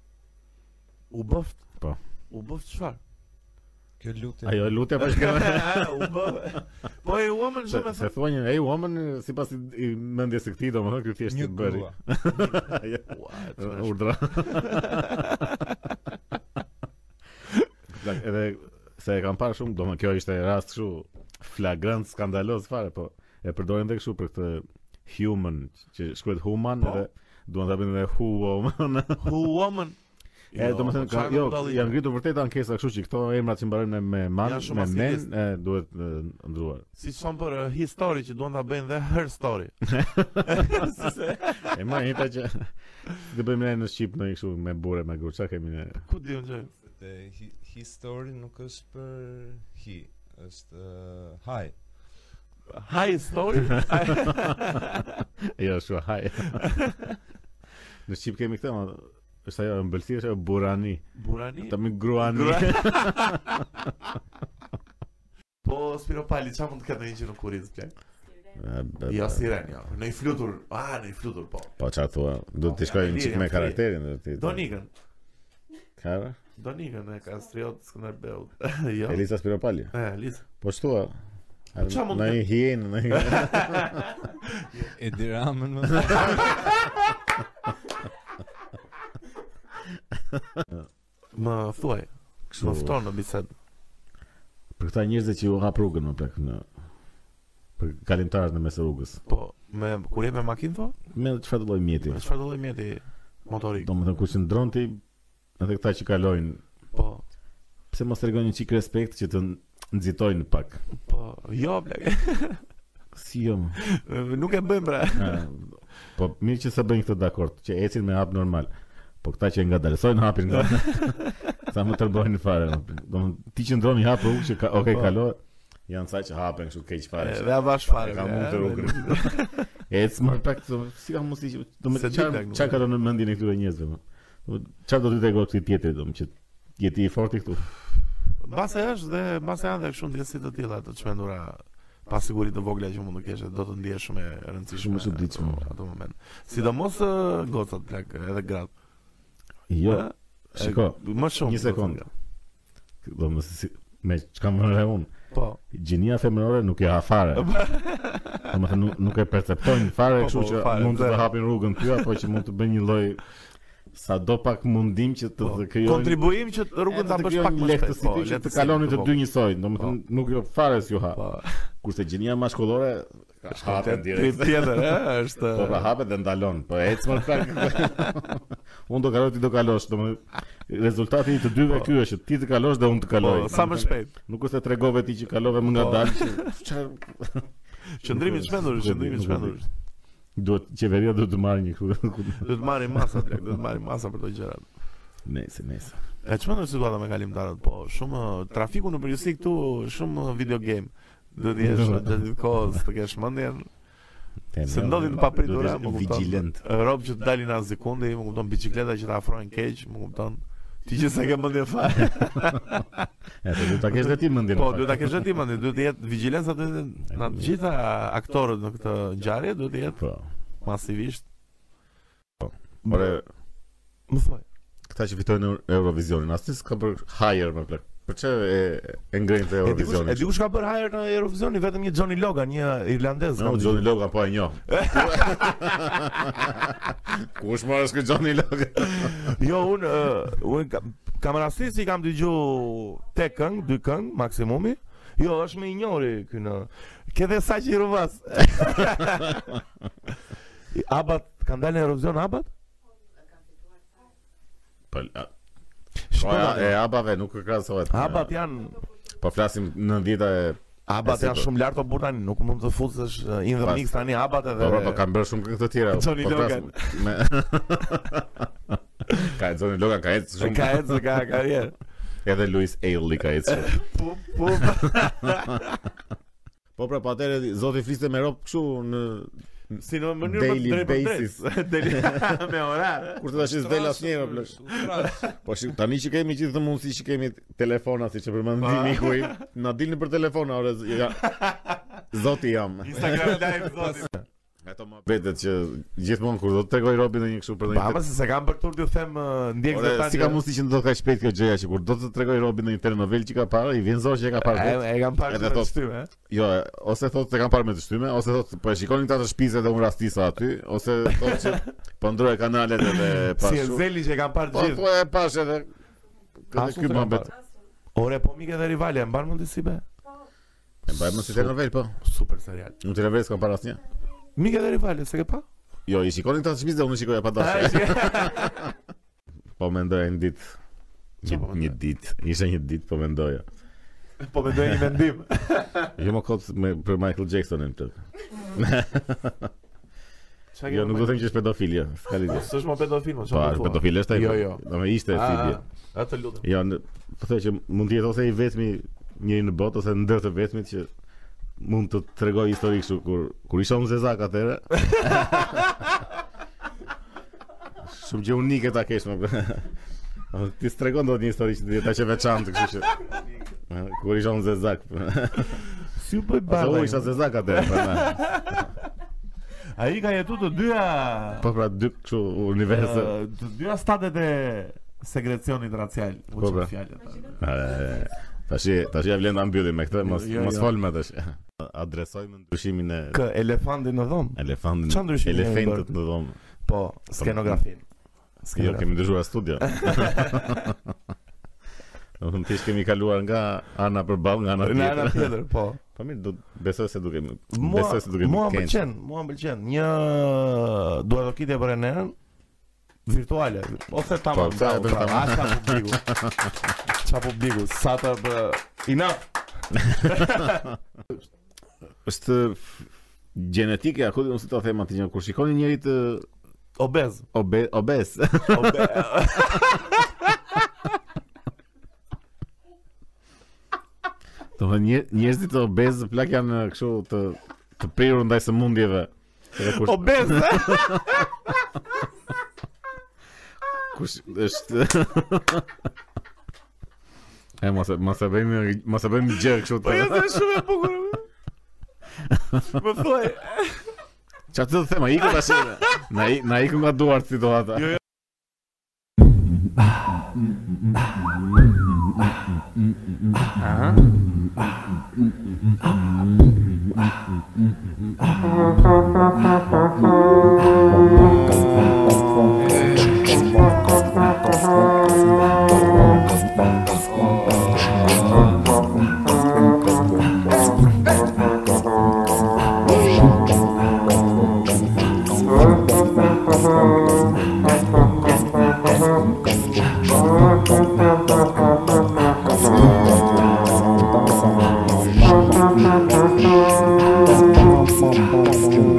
Speaker 1: u bëft.
Speaker 2: Po.
Speaker 1: U bëft çfarë? [laughs]
Speaker 4: Kjo lutje.
Speaker 2: Ajo lutja
Speaker 4: [laughs]
Speaker 2: për shkëmë
Speaker 1: u bëft. Po a woman
Speaker 2: Se,
Speaker 1: shumë e
Speaker 2: se thua një, ej, woman, si pas i, i mendjes së këti, do më thë, kjo thjesht të
Speaker 4: Një
Speaker 2: bëri [laughs]
Speaker 4: grua.
Speaker 2: Ja,
Speaker 1: thënë. [laughs]
Speaker 2: Urdra Plak, Edhe se e kam parë shumë, do më kjo ishte rast këshu flagrant, skandaloz fare, po e përdorin dhe këshu për këtë human, që shkruhet human
Speaker 1: Po.
Speaker 2: edhe duan ta bëjnë edhe hu [laughs] woman.
Speaker 1: Who woman?
Speaker 2: E, do më thënë, ka,
Speaker 1: çfarë
Speaker 2: jo,
Speaker 1: budalli?
Speaker 2: janë ngritur vërtet ankesa kështu që këto emrat që mbarojnë me- me man,
Speaker 1: Janë shumë
Speaker 2: me men,
Speaker 1: asidist.
Speaker 2: e, duhet e, ndruar.
Speaker 1: Si son për uh, history që duan ta bëjnë dhe her
Speaker 2: [laughs]
Speaker 1: story. Si se-
Speaker 2: E ma një
Speaker 1: [laughs]
Speaker 2: ta që, të bëjmë ne në Shqip në një kështu me bure, me gru, çka kemi ne?
Speaker 1: Ku di unë që?
Speaker 4: Dhe hi- history nuk është për hi, është uh, hi.
Speaker 1: High
Speaker 2: [laughs]
Speaker 1: story?
Speaker 2: Jo, shua, haj. [laughs] në Shqip kemi këtë, ma, është ajo, në bëllësi është ajo burani,
Speaker 1: Burani?
Speaker 2: ta mi gruani. [laughs]
Speaker 1: Po, Spiro Pali, qa mund të këtë një që në kuriz, plek?
Speaker 2: E, be,
Speaker 1: Jo,
Speaker 2: be.
Speaker 1: siren, jo. Në i flutur, a, në i flutur, po.
Speaker 2: Po çfarë thua? Do të shkojmë një çik me karakterin, do të.
Speaker 1: Donikën,
Speaker 2: Kara?
Speaker 1: Donikën e Kastriot Skënderbeu. [laughs] jo.
Speaker 2: Elisa Spiropali.
Speaker 1: E, Liz.
Speaker 2: Po shtua.
Speaker 1: çfarë mund
Speaker 2: Në
Speaker 1: të-
Speaker 2: një hienë, në
Speaker 1: [laughs]
Speaker 2: një...
Speaker 4: Edi Ramën më thënë.
Speaker 1: Më thuaj,
Speaker 2: Kështu.
Speaker 1: më fton në bisedë.
Speaker 2: Për këta njerëz që u hap rrugën më plak në për kalimtarët në mes rrugës.
Speaker 1: Po, me, kur je me makinë, po?
Speaker 2: Me çfarë do lloj mjeti?
Speaker 1: Me çfarë do lloj mjeti motorik?
Speaker 2: Domethënë kur qëndron ti edhe këta që kalojnë,
Speaker 1: Po,
Speaker 2: pse mos tregojnë një çik respekt që të n- nxitojnë pak.
Speaker 1: po, jo, plek.
Speaker 2: Si jo. më?
Speaker 1: [laughs] Nuk e bëjmë, bre.
Speaker 2: Ha, po mirë që sa bëjnë këtë dakord, që ecin me hap normal. Po këta që
Speaker 1: [laughs]
Speaker 2: ngadalsojnë hapin nga. sa më tërbojnë fare. më plak. Domethënë ti qëndron i hap rrugë që ka, okay
Speaker 1: Po.
Speaker 2: kalo. Janë sa që hapen kështu keq fare.
Speaker 1: E,
Speaker 2: që-
Speaker 1: Dhe a bash fare.
Speaker 2: E ka
Speaker 1: bre,
Speaker 2: mund të
Speaker 1: e,
Speaker 2: rrugën. [laughs] Ecë më pak të si ka mund të do
Speaker 1: Se
Speaker 2: të
Speaker 1: di
Speaker 2: çfarë
Speaker 1: plak, nuk
Speaker 2: çfarë ka në mendin e këtyre njerëzve më. Do të- Çfarë do të tregoj këtij tjetri do më që jeti i fortë këtu.
Speaker 1: Mbase është dhe mbase janë dhe kështu ndjesi të tilla të çmendura pa siguri të vogla që mund të kesh do të ndihesh shumë e rëndësishme
Speaker 2: Shumë e çuditshme.
Speaker 1: ato- ato moment. Sidomos ë, gocat plak edhe grat.
Speaker 2: Jo, shiko,
Speaker 1: Më shumë.
Speaker 2: një sekond. do më si, me çka më rre unë.
Speaker 1: Po.
Speaker 2: Gjinia femërore nuk e ha
Speaker 1: [laughs]
Speaker 2: fare. Do më thënë nuk, nuk e perceptojnë fare,
Speaker 1: Po,
Speaker 2: kështu
Speaker 1: po,
Speaker 2: që
Speaker 1: fare,
Speaker 2: mund të
Speaker 1: zero.
Speaker 2: të hapin rrugën ty apo që mund të bëjnë një lloj sado pak mundim që të, të krijojnë
Speaker 1: Kontribuim që Po, rrugën ta bësh pak më shpejt. Po,
Speaker 2: lehtësi që të kaloni të dy njësoj, domethënë nuk jo fare s'ju ha.
Speaker 1: Po.
Speaker 2: Kurse gjinia maskullore ka hapen
Speaker 1: Trip
Speaker 2: direkt.
Speaker 1: tjetër, ë, është
Speaker 2: [laughs] Po pra hapet dhe ndalon, po ec më pak. [laughs] unë do kaloj ti do kalosh, domethënë rezultati i të dyve ky është që ti të kalosh dhe unë të kaloj.
Speaker 1: po, sa Po. më shpejt. [laughs]
Speaker 2: Nuk është se tregove ti që kalove më
Speaker 1: Po.
Speaker 2: ngadalë. që- Çfarë
Speaker 1: Qëndrimi i çmendur,
Speaker 2: Nuk e di,
Speaker 1: qëndrimi i
Speaker 2: nuk e di.
Speaker 1: çmendur.
Speaker 2: Duhet qeveria duhet të marrë një kështu.
Speaker 1: Do të marrim masa, plak, do të marrim masa për këto gjëra.
Speaker 2: Nëse, nëse.
Speaker 1: E çmendur situata me kalimtarët, po shumë eh, trafiku në përgjithësi këtu, shumë uh, video game. Do të
Speaker 2: [laughs]
Speaker 1: jesh gjatë ditës kohës, të kesh mendjen, se
Speaker 2: jo,
Speaker 1: ndodhin të papridura, më kupton.
Speaker 2: Vigjilent.
Speaker 1: rob që të dalin as sekonde, më kupton, bicikleta që të afrojnë keq, më kupton. Ti që s'e ke mendje fare.
Speaker 2: E, po duhet ta kesh dhe ti mendin.
Speaker 1: Po,
Speaker 2: në
Speaker 1: duhet
Speaker 2: fakt.
Speaker 1: ta kesh vetë mendje, duhet të jetë vigjilenca duhet të jetë na të gjitha aktorët në këtë ngjarje duhet të jetë
Speaker 2: Po.
Speaker 1: masivisht.
Speaker 2: Po, Ore,
Speaker 1: më thoj.
Speaker 2: këta që fitojnë Euro- Eurovisionin, asnjë s'ka për higher më plak. Për çe e, e ngrenë
Speaker 1: E di kush,
Speaker 2: të
Speaker 1: e
Speaker 2: Eurovisionin?
Speaker 1: di kush ka bërë hajër në Eurovisioni vetëm një Johnny Logan, një irlandez.
Speaker 2: No,
Speaker 1: ka bërë.
Speaker 2: Johnny Logan po e [laughs] njoh. Kush marrë s'kë Johnny Logan?
Speaker 1: Jo, unë uh, unë kam, kam rastin si kam dëgju te këngë, dy këngë maksimumi. Jo, është më i njëri ky në. Ke dhe sa që i
Speaker 2: [laughs]
Speaker 1: rruvas. Abat, kanë dalë në Eurovision Abat?
Speaker 2: Po, a- po
Speaker 1: Shkoda.
Speaker 2: a- e abave nuk e krahasohet.
Speaker 1: Abat janë
Speaker 2: Po flasim 90-a e
Speaker 1: Abat
Speaker 2: E,
Speaker 1: janë
Speaker 2: si
Speaker 1: shumë lart o burr tani, nuk mund të futesh uh, in the
Speaker 2: Pas-
Speaker 1: mix tani Abat edhe.
Speaker 2: Po po, po kanë bërë shumë këngë të
Speaker 1: [laughs]
Speaker 2: tjera.
Speaker 1: Johnny
Speaker 2: po, flasim Me... [laughs] ka Johnny Logan ka ecë shumë.
Speaker 1: ka ecë ka karrierë.
Speaker 2: Edhe Luis Ailey ka ecë shumë.
Speaker 1: Po po.
Speaker 2: Po pra, po atëre zoti fliste me rob kështu në
Speaker 1: Si në mënyrë më
Speaker 2: Daily
Speaker 1: drejt për drejt. [laughs] Daily [laughs] me orar.
Speaker 2: kur të tash s'del asnjëra plot. Po shi, tani që kemi gjithë të mundësi që kemi telefona siç e përmendi
Speaker 1: Pa.
Speaker 2: miku im, na dilni për telefona ore. z-
Speaker 1: [laughs]
Speaker 2: Ja, zoti jam.
Speaker 1: Instagram live zoti.
Speaker 2: Ato më vetet që gjithmonë kur do të tregoj robin në një kështu për
Speaker 1: Baba
Speaker 2: ndonjë.
Speaker 1: se se kam për tur t'ju them uh, ndjekës
Speaker 2: Ore,
Speaker 1: e tani.
Speaker 2: si ka mundësi që ndodh kaq shpejt kjo gjëja që kur do të tregoj robin në një telenovel që ka parë, i vjen zorë që e ka parë.
Speaker 1: E,
Speaker 2: vetë.
Speaker 1: e kam parë
Speaker 2: Edhe
Speaker 1: të
Speaker 2: thot-
Speaker 1: shtyme. eh?
Speaker 2: Jo, e, ose thotë se kanë parë me të shtyme, ose thotë po e shikonin ta të shtëpisë dhe unë rastisa aty, ose thotë që
Speaker 1: [laughs]
Speaker 2: po ndroj kanalet edhe pa
Speaker 1: Si e
Speaker 2: shumë.
Speaker 1: zeli që kam parë
Speaker 2: Po
Speaker 1: të gjithë.
Speaker 2: po e pash edhe
Speaker 1: Asun
Speaker 2: këtë ky
Speaker 1: s'e kam
Speaker 2: mohabet.
Speaker 1: Ore, po mike dhe rivale, e mban mundi si be.
Speaker 2: E mbajmë si telenovela po.
Speaker 1: Super serial.
Speaker 2: Unë telenovela s'kam parë asnjë.
Speaker 1: Mike dhe rivale, se ke pa?
Speaker 2: Jo, i shikonin ta të shtëpisë dhe unë shikoja pa
Speaker 1: [laughs]
Speaker 2: dashje. Po mendoja një ditë. Një,
Speaker 1: po mendoj?
Speaker 2: një ditë, ishte një ditë po mendoja.
Speaker 1: Po me dojë një [laughs] mendim.
Speaker 2: Jo më kot me për Michael Jacksonin plot.
Speaker 1: Qa ke
Speaker 2: Jo,
Speaker 1: për
Speaker 2: nuk do
Speaker 1: me-
Speaker 2: të them që është pedofil, jo, s'ka lidhje.
Speaker 1: S'është më pedofil, më
Speaker 2: Po,
Speaker 1: shumë të
Speaker 2: pedofil është ai.
Speaker 1: Jo, jo.
Speaker 2: Do me ishte filje.
Speaker 1: ah, Atë lutem.
Speaker 2: Jo, në, po thoj që mund të jetë ose i vetmi njëri në botë ose ndër të vetmit që mund të tregoj histori kështu kur kur isha unë zezak
Speaker 1: [laughs]
Speaker 2: atëherë. Shumë gjë unike ta kesh më. [laughs] A Ti stregon dot një histori që dieta që veçantë, kështu që A, kur isha unë zezak.
Speaker 1: Si u bëj
Speaker 2: Ose
Speaker 1: bardha?
Speaker 2: u isha zezak atëherë. pra, prandaj.
Speaker 1: Ai ka jetu të dyja
Speaker 2: Po pra dy kështu universe.
Speaker 1: ë, të dyja statet e segrecionit racial, u
Speaker 2: Po, pra.
Speaker 1: çfarë fjalë.
Speaker 2: E, Tashi, tashi ja vlen ta mbyllim me këtë, mos
Speaker 1: Jo,
Speaker 2: mos
Speaker 1: jo.
Speaker 2: folmë tash. [laughs] Adresojmë ndryshimin e
Speaker 1: Kë elefanti në dhomë?
Speaker 2: elefantin.
Speaker 1: Çfarë ndryshimi kemi
Speaker 2: Elefantët
Speaker 1: bërë?
Speaker 2: në dhomë.
Speaker 1: Po, skenografin.
Speaker 2: Jo, kemi ndryshuar
Speaker 1: [laughs]
Speaker 2: studio. Do të thënë kemi kaluar nga ana për ballë nga ana
Speaker 1: Në ana
Speaker 2: tjetër.
Speaker 1: tjetër, po.
Speaker 2: Po mirë, do besoj se duke
Speaker 1: Mua,
Speaker 2: [laughs] besoj se duke
Speaker 1: mua më
Speaker 2: kenë.
Speaker 1: pëlqen, mua më pëlqen. Një dua do kitje për enën virtuale ose tamam.
Speaker 2: Po,
Speaker 1: bravo,
Speaker 2: po,
Speaker 1: bravo,
Speaker 2: tamam.
Speaker 1: Asa publiku. Qa publiku, sa të bë... Enough!
Speaker 2: [laughs] Është gjenetike, a ku do të ta them atë gjë kur shikoni njëri të
Speaker 1: Obez.
Speaker 2: obe, obez.
Speaker 1: Obe...
Speaker 2: Do të thënë njerëzit të obez plak janë kështu të të prirur ndaj sëmundjeve. Edhe kur
Speaker 1: Obez! [laughs]
Speaker 2: kush është [laughs] E mos e- mos e bëjmë mos e bëjmë gjë kështu
Speaker 1: Po
Speaker 2: të.
Speaker 1: jetë shumë e bukur. [laughs] Më thuaj,
Speaker 2: Qa të të thema, iku tash. Na i- na iku nga duart situata.
Speaker 1: Jo, jo.
Speaker 6: Thank you.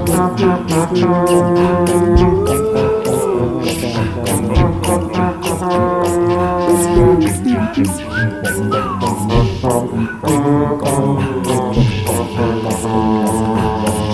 Speaker 6: Thank you.